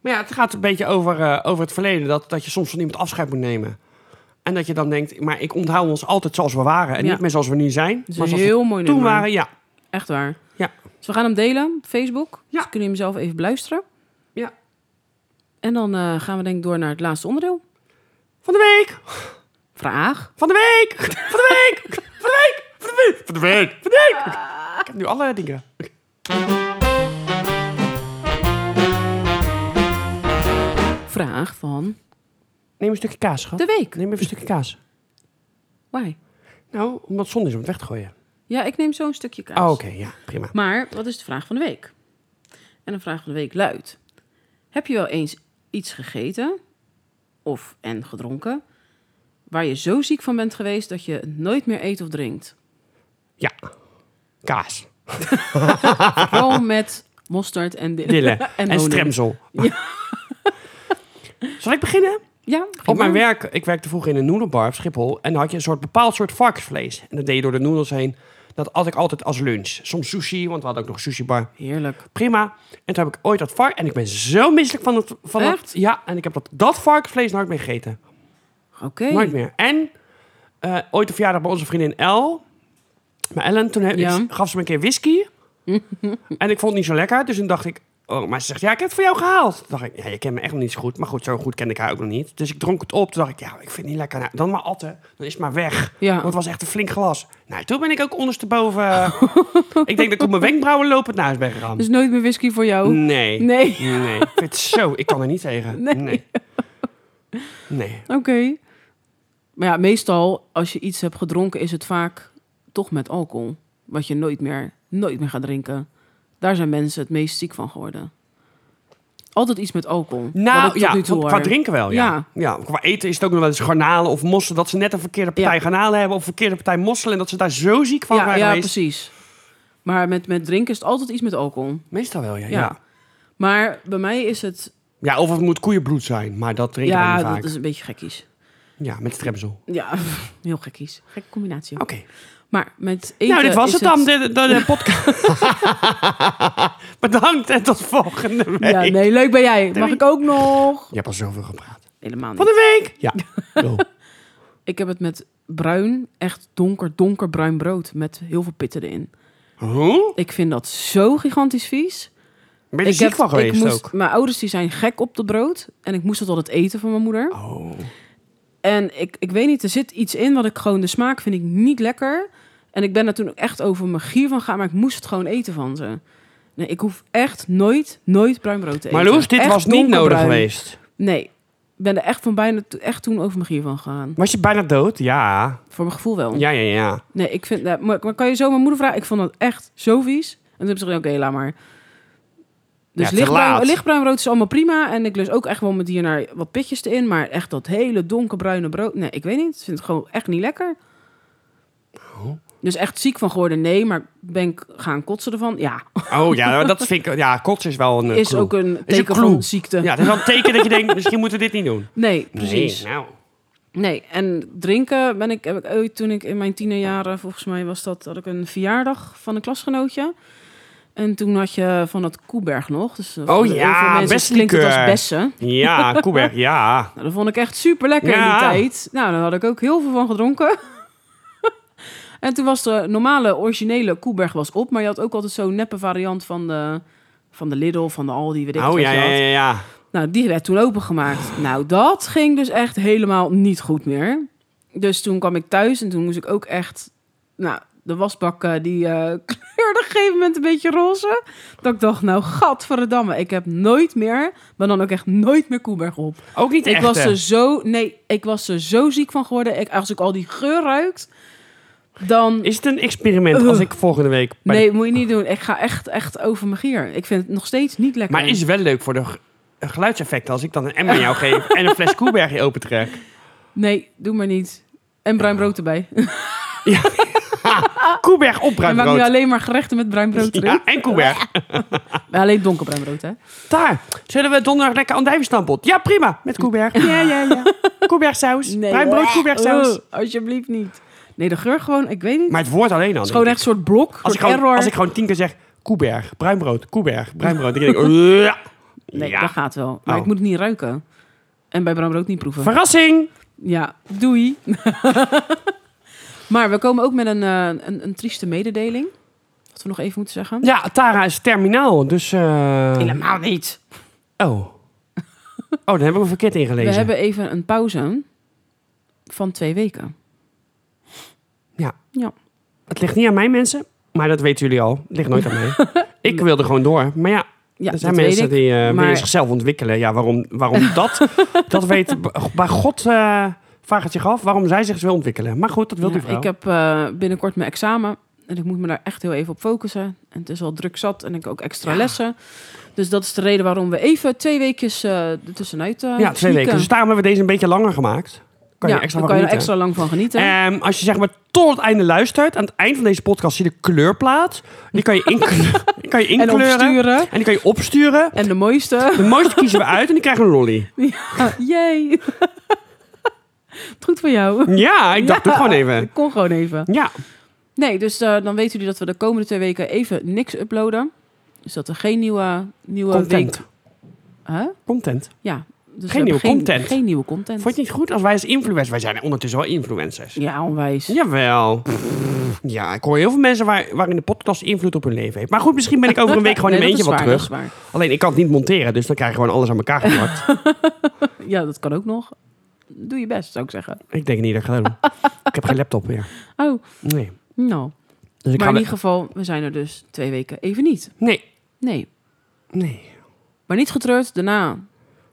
A: Maar ja, het gaat een beetje over, eh, over het verleden. Dat, dat je soms van iemand afscheid moet nemen. En dat je dan denkt, maar ik onthoud ons altijd zoals we waren. En
B: Ja.
A: niet meer zoals we nu zijn.
B: Het is
A: maar
B: een
A: zoals
B: heel
A: we
B: mooi
A: toen
B: nummer.
A: waren, ja.
B: Echt waar.
A: Ja.
B: Dus we gaan hem delen op Facebook.
A: Ja.
B: Dus kunnen jullie hem zelf even beluisteren.
A: Ja.
B: En dan eh, gaan we denk ik door naar het laatste onderdeel.
A: Van de week!
B: Vraag.
A: Van de week! Van de week! Van de week! Van de week! Van de week! Van de week! Ik heb nu alle dingen.
B: Vraag van
A: Neem een stukje kaas, schat.
B: de week.
A: Neem even een stukje kaas.
B: Why?
A: Nou, omdat zonde is om het weg te gooien.
B: Ja, ik neem zo'n stukje kaas.
A: Ah, oké, ja, prima.
B: Maar wat is de vraag van de week? En de vraag van de week luidt: Heb je wel eens iets gegeten of en gedronken waar je zo ziek van bent geweest dat je het nooit meer eet of
A: <laughs>
B: drinkt?
A: Ja, kaas,
B: Vooral met mosterd en di-
A: dillen en,
B: <laughs> en honing.
A: stremsel. <laughs> Zal ik beginnen?
B: Ja,
A: Op
B: prima.
A: mijn werk, ik werkte vroeger in een noedelbar op Schiphol. En dan had je een soort bepaald soort varkensvlees. En dat deed je door de noedels heen. Dat had ik altijd als lunch. Soms sushi, want we hadden ook nog sushi bar.
B: Heerlijk.
A: Prima. En toen heb ik ooit dat vark. En ik ben zo misselijk van het. Van het
B: Echt?
A: ja, en ik heb dat, dat varkensvlees nooit meer gegeten.
B: Oké.
A: Nooit meer. En eh, ooit een verjaardag bij onze vriendin El. Maar Ellen, toen heb-
B: Ja.
A: ik- gaf ze me een keer
B: <laughs>
A: whisky. en ik vond het niet zo lekker. Dus toen dacht ik... Oh, maar ze zegt, ja, ik heb het voor jou gehaald. Toen dacht ik, ja, je kent me echt nog niet zo goed. Maar goed, zo goed kende ik haar ook nog niet. Dus ik dronk het op. Toen dacht ik, ja, ik vind het niet lekker. Nou, dan maar atten. Dan is het maar weg.
B: Ja.
A: Want het was echt een flink glas. Nou, toen ben ik ook ondersteboven...
B: <laughs>
A: eh, ik denk dat ik op mijn wenkbrauwen lopend naar huis ben gegaan.
B: Dus nooit meer whisky voor jou?
A: Nee.
B: Nee.
A: Nee. Ik vind het zo... Ik kan er niet tegen.
B: <laughs> Nee.
A: Nee. Nee.
B: Oké. Maar ja, meestal als je iets hebt gedronken is het vaak toch met alcohol. Wat je nooit meer, nooit meer gaat drinken. Daar zijn mensen het meest ziek van geworden. Altijd iets met alcohol. wat ik
A: Nou
B: tot
A: ja,
B: nu toe
A: want
B: hoor.
A: qua drinken wel, ja. ja.
B: Ja.
A: Qua eten is het ook nog wel eens garnalen of mosselen... dat ze net een verkeerde partij
B: Ja.
A: garnalen hebben... of verkeerde partij mosselen... en dat ze daar zo ziek van
B: ja,
A: waren
B: ja,
A: geweest.
B: precies. Maar met, met drinken is het altijd iets met alcohol.
A: Meestal wel, ja. Ja,
B: Ja.
A: ja.
B: Maar bij mij is het...
A: of het moet koeienbloed zijn... maar dat drinken we
B: ja,
A: niet vaak.
B: dat is een beetje gekkies.
A: Ja, met strepsel.
B: Ja, <laughs> heel gekkies. Gekke combinatie.
A: Oké.
B: Maar met eten
A: Nou, dit was
B: is
A: het dan, de, de, de
B: <laughs>
A: podcast. Bedankt en tot volgende week.
B: Ja, nee, leuk ben jij. Mag
A: dus. Doei.
B: ik ook nog?
A: Je hebt al zoveel gepraat.
B: Helemaal niet.
A: Van de week! Ja. Yo.
B: Ik heb het met bruin, echt donker, donkerbruin brood met heel veel pitten erin.
A: Huh?
B: Ik vind dat zo gigantisch vies.
A: Ben je er
B: ik
A: ziek
B: heb-
A: van geweest
B: ik moest,
A: ook?
B: Mijn ouders die zijn gek op dat brood en ik moest dat altijd eten van mijn moeder.
A: Oh.
B: En ik, ik weet niet, er zit iets in wat ik gewoon de smaak vind ik niet lekker. En ik ben er toen ook echt over mijn gier van gaan, maar ik moest het gewoon eten van ze. Nee, ik hoef echt nooit, nooit bruin brood te eten.
A: Maar Loes, dit
B: Echt
A: was niet nodig
B: donkerbruin.
A: geweest.
B: Nee, ik ben er echt van bijna to- echt toen over mijn gier van gegaan.
A: Was je bijna dood? Ja.
B: Voor mijn gevoel wel.
A: Ja, ja, ja.
B: Nee, ik vind... nou, maar, maar kan je zo mijn moeder vragen? Ik vond dat echt zo vies. En toen heb ze gezegd, oké, laat maar. Dus
A: te laat.
B: lichtbruin, lichtbruin brood is allemaal prima. En ik lust ook echt wel met hier naar wat pitjes erin. Maar echt dat hele donkerbruine brood... Nee, ik weet niet. Ik vind het gewoon echt niet lekker.
A: Oh.
B: Dus echt ziek van geworden, nee. Maar ben ik gaan kotsen ervan? Ja.
A: Oh ja, dat vind ik. Ja, kots is wel een.
B: <laughs>
A: eh,
B: Is
A: clue.
B: ook een
A: een
B: teken
A: clue.
B: van ziekte.
A: Ja, dat is wel een teken dat je denkt, misschien moeten we dit niet doen.
B: Nee, <laughs> precies.
A: Nee, nou.
B: Nee, en drinken ben ik, heb ik ooit toen ik in mijn tienerjaren, volgens mij was dat, had ik een verjaardag van een klasgenootje. En toen had je van dat Koeberg nog. Dus eh, voor heel
A: Oh ja,
B: veel mensen klinkt het als
A: bessenlikeur.
B: bessen.
A: Ja, Koeberg, ja.
B: Nou, dat vond ik echt super lekker
A: Ja.
B: in die tijd. Nou, daar had ik ook heel veel van gedronken. <laughs> en toen was de normale, originele Koeberg was op, maar je had ook altijd zo'n neppe variant van de, van de Lidl, van de Aldi, weet ik
A: Oh
B: wat
A: ja,
B: je
A: ja,
B: had.
A: ja, ja.
B: Nou, die werd toen
A: <gasps>
B: opengemaakt. Nou, dat ging dus echt helemaal niet goed meer. Dus toen kwam ik thuis en toen moest ik ook echt... Nou, de wasbak eh, die eh, <laughs> kleurde op een gegeven moment een beetje roze. Dat ik dacht, nou, gadverdamme. Ik heb nooit meer, maar dan ook echt nooit meer Koeberg op.
A: Ook niet echt.
B: Ik was dus- er zo... Nee, ik was er zo ziek van geworden. Ik, als ik al die geur ruikt, dan...
A: Is het een experiment als ik volgende week. bij de-
B: Oh. Nee, moet je niet doen. Ik ga echt, echt over mijn gier. Ik vind het nog steeds niet lekker.
A: Maar is wel leuk voor de g- geluidseffecten als ik dan een emmer aan jou geef en een fles Koeberg je opentrek.
B: Nee, doe maar niet. En bruin brood erbij.
A: Koeberg op
B: Je maakt nu
A: bruinbrood.
B: alleen maar gerechten met bruin brood erin.
A: Ja, en Koeberg.
B: Maar Alleen donkerbruin brood, hè?
A: Daar. Zullen we donderdag lekker andijven stampot? Ja, prima. Met Koeberg. Ja, ja,
B: <laughs>
A: ja. Koebergsaus. Bruinbrood, Koebergsaus.
B: Oh, alsjeblieft niet. Nee, de geur gewoon, ik weet niet.
A: Maar het woord alleen al.
B: het is gewoon
A: denk ik.
B: echt een soort blok,
A: Als
B: als
A: ik, gewoon,
B: error.
A: als ik gewoon tien keer zeg, Koeberg, bruinbrood, Koeberg, bruinbrood. Dan denk
B: <laughs>
A: ik, ja.
B: Nee,
A: Ja.
B: dat gaat wel. Maar
A: Oh.
B: ik moet het niet ruiken. En bij bruin brood niet proeven.
A: Verrassing!
B: ja, doei. <laughs> maar we komen ook met een, eh, een, een trieste mededeling. Wat we nog even moeten zeggen.
A: Ja, Tara is terminaal, dus... eh,
B: Helemaal niet.
A: Oh. Oh, dan hebben we verkeerd ingelezen.
B: We hebben even een pauze van twee weken.
A: Ja.
B: Ja. <laughs>
A: Het ligt niet aan mij, mensen. Maar dat weten jullie al. Het ligt nooit aan mij. Ik wilde gewoon door. Maar ja,
B: ja,
A: er zijn
B: dat weet
A: mensen
B: ik.
A: die eh, willen
B: maar-
A: zichzelf ontwikkelen. Ja, waarom,
B: <laughs>
A: waarom dat? dat weet bij God eh vraag het zich af waarom zij zich wil ontwikkelen. Maar goed, dat wil
B: Ja,
A: die vrouw.
B: Ik heb eh, binnenkort mijn examen. En ik moet me daar echt heel even op focussen. En het is al druk zat en ik heb ook extra lessen. Dus dat is de reden waarom we even twee weekjes eh ertussenuit eh
A: ja, twee
B: sneaken.
A: weken. Dus daarom hebben we deze een beetje langer gemaakt. Kan
B: ja,
A: je extra
B: daar
A: van
B: kan je er
A: genieten.
B: extra lang van genieten.
A: Ehm, als je zeg maar tot het einde luistert, aan het eind van deze podcast zie je de kleurplaat. Die
B: <laughs>
A: kan je, inkle- die kan je
B: en
A: inkleuren. En,
B: opsturen.
A: die kan je opsturen.
B: En de
A: <laughs>
B: mooiste.
A: De mooiste kiezen we uit en die krijgen een lolly.
B: Jee. Goed voor jou.
A: Ja, ik dacht
B: Ja.
A: doe gewoon even.
B: Ik kon gewoon even.
A: Ja,
B: Nee, dus eh, dan weten jullie dat we de komende twee weken even niks uploaden. Dus dat er geen nieuwe, nieuwe
A: content.
B: week... Huh?
A: Content.
B: Ja. Dus we
A: Geen
B: hebben
A: nieuwe content.
B: Geen nieuwe content.
A: Vond je het niet goed als wij als influencers... Wij zijn ondertussen wel influencers.
B: Ja, onwijs.
A: Jawel. Ja, ik hoor heel veel mensen waar, waarin de podcast invloed op hun leven heeft. Maar goed, misschien ben ik over een
B: <laughs>
A: week gewoon in
B: Nee,
A: mijn
B: dat
A: eentje wat
B: is waar,
A: terug.
B: dat is
A: Alleen ik kan het niet monteren, dus dan krijg je gewoon alles aan elkaar
B: <laughs>
A: geplakt.
B: waar. Ja, dat kan ook nog. Doe je best, zou ik zeggen.
A: ik denk niet dat ik dat ga doen. Ik heb geen laptop meer.
B: Oh,
A: Nee.
B: nou.
A: Dus
B: Maar
A: ik ga
B: in
A: de-
B: ieder geval, we zijn er dus twee weken even niet.
A: Nee.
B: Nee.
A: Nee.
B: Maar niet getreurd, daarna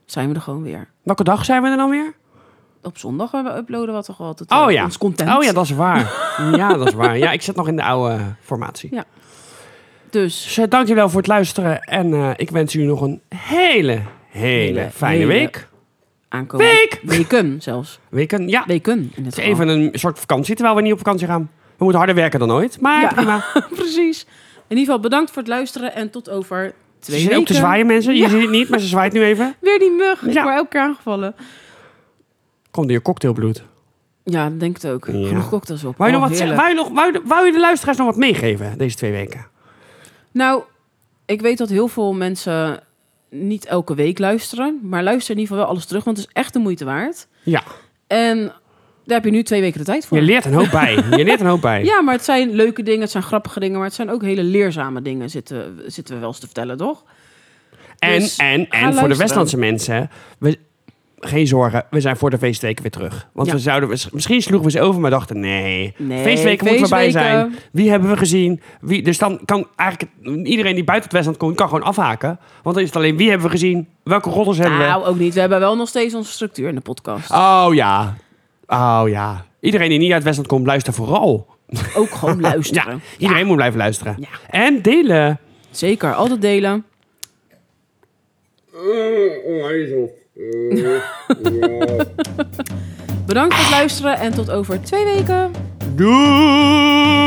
B: zijn we er gewoon weer.
A: Welke dag zijn we er dan weer?
B: Op zondag hebben we uploaden wat toch altijd
A: Oh
B: eh,
A: ja.
B: ons content.
A: Oh ja, dat is waar. <laughs> ja, dat is waar. Ja, ik zit nog in de oude eh, formatie.
B: Ja. Dus
A: Dus eh, dankjewel voor het luisteren. En eh, ik wens jullie nog een hele, hele,
B: Hele,
A: fijne
B: hele-
A: week.
B: aankomen.
A: Week!
B: <laughs> Weken zelfs.
A: Weken, ja.
B: Weken in
A: Het
B: het
A: is even een soort vakantie, terwijl we niet op vakantie gaan. We moeten harder werken dan ooit. Maar
B: Ja.
A: <laughs> prima.
B: <laughs> Precies. In ieder geval bedankt voor het luisteren en tot over
A: Ze
B: twee
A: zitten
B: weken.
A: ook te zwaaien, mensen. Je
B: Ja.
A: ziet het niet, maar ze zwaait nu even.
B: Weer die mug. Ik
A: Ja.
B: word elke keer aangevallen.
A: Komt hier cocktailbloed.
B: Ja, dat denk ik ook.
A: Ja.
B: Genoeg cocktails op.
A: Wou je,
B: Oh,
A: nog wat,
B: heerlijk.
A: zeggen? wou, je nog, wou, je, wou je de luisteraars nog wat meegeven deze twee weken?
B: Nou, ik weet dat heel veel mensen niet elke week luisteren. Maar luister in ieder geval wel alles terug, want het is echt de moeite waard.
A: Ja.
B: En daar heb je nu twee weken de tijd voor.
A: Je leert een hoop bij. Je leert een hoop bij.
B: ja, maar het zijn leuke dingen, het zijn grappige dingen, maar het zijn ook hele leerzame dingen, zitten, zitten we wel eens te vertellen, toch?
A: En,
B: Dus
A: en, en voor de
B: luisteren.
A: Westlandse mensen, we, geen zorgen, we zijn voor de feestweken weer terug. Want
B: Ja.
A: we zouden, we- misschien sloegen we ze over, maar dachten nee.
B: Nee,
A: feestweken moeten we bij zijn.
B: feestweken.
A: Wie hebben we gezien? Wie, dus dan kan eigenlijk iedereen die buiten het Westland komt, kan gewoon afhaken. Want dan is het alleen wie hebben we gezien, welke roddels hebben we.
B: Nou, ook niet. We hebben wel nog steeds onze structuur in de podcast.
A: Oh ja. Oh ja. Iedereen die niet uit het Westland komt, luister vooral.
B: Ook gewoon
A: <laughs> Ja,
B: luisteren.
A: iedereen moet blijven luisteren.
B: Ja.
A: En delen.
B: Zeker, altijd delen. <laughs> Bedankt voor het luisteren en tot over twee weken.
A: Doei!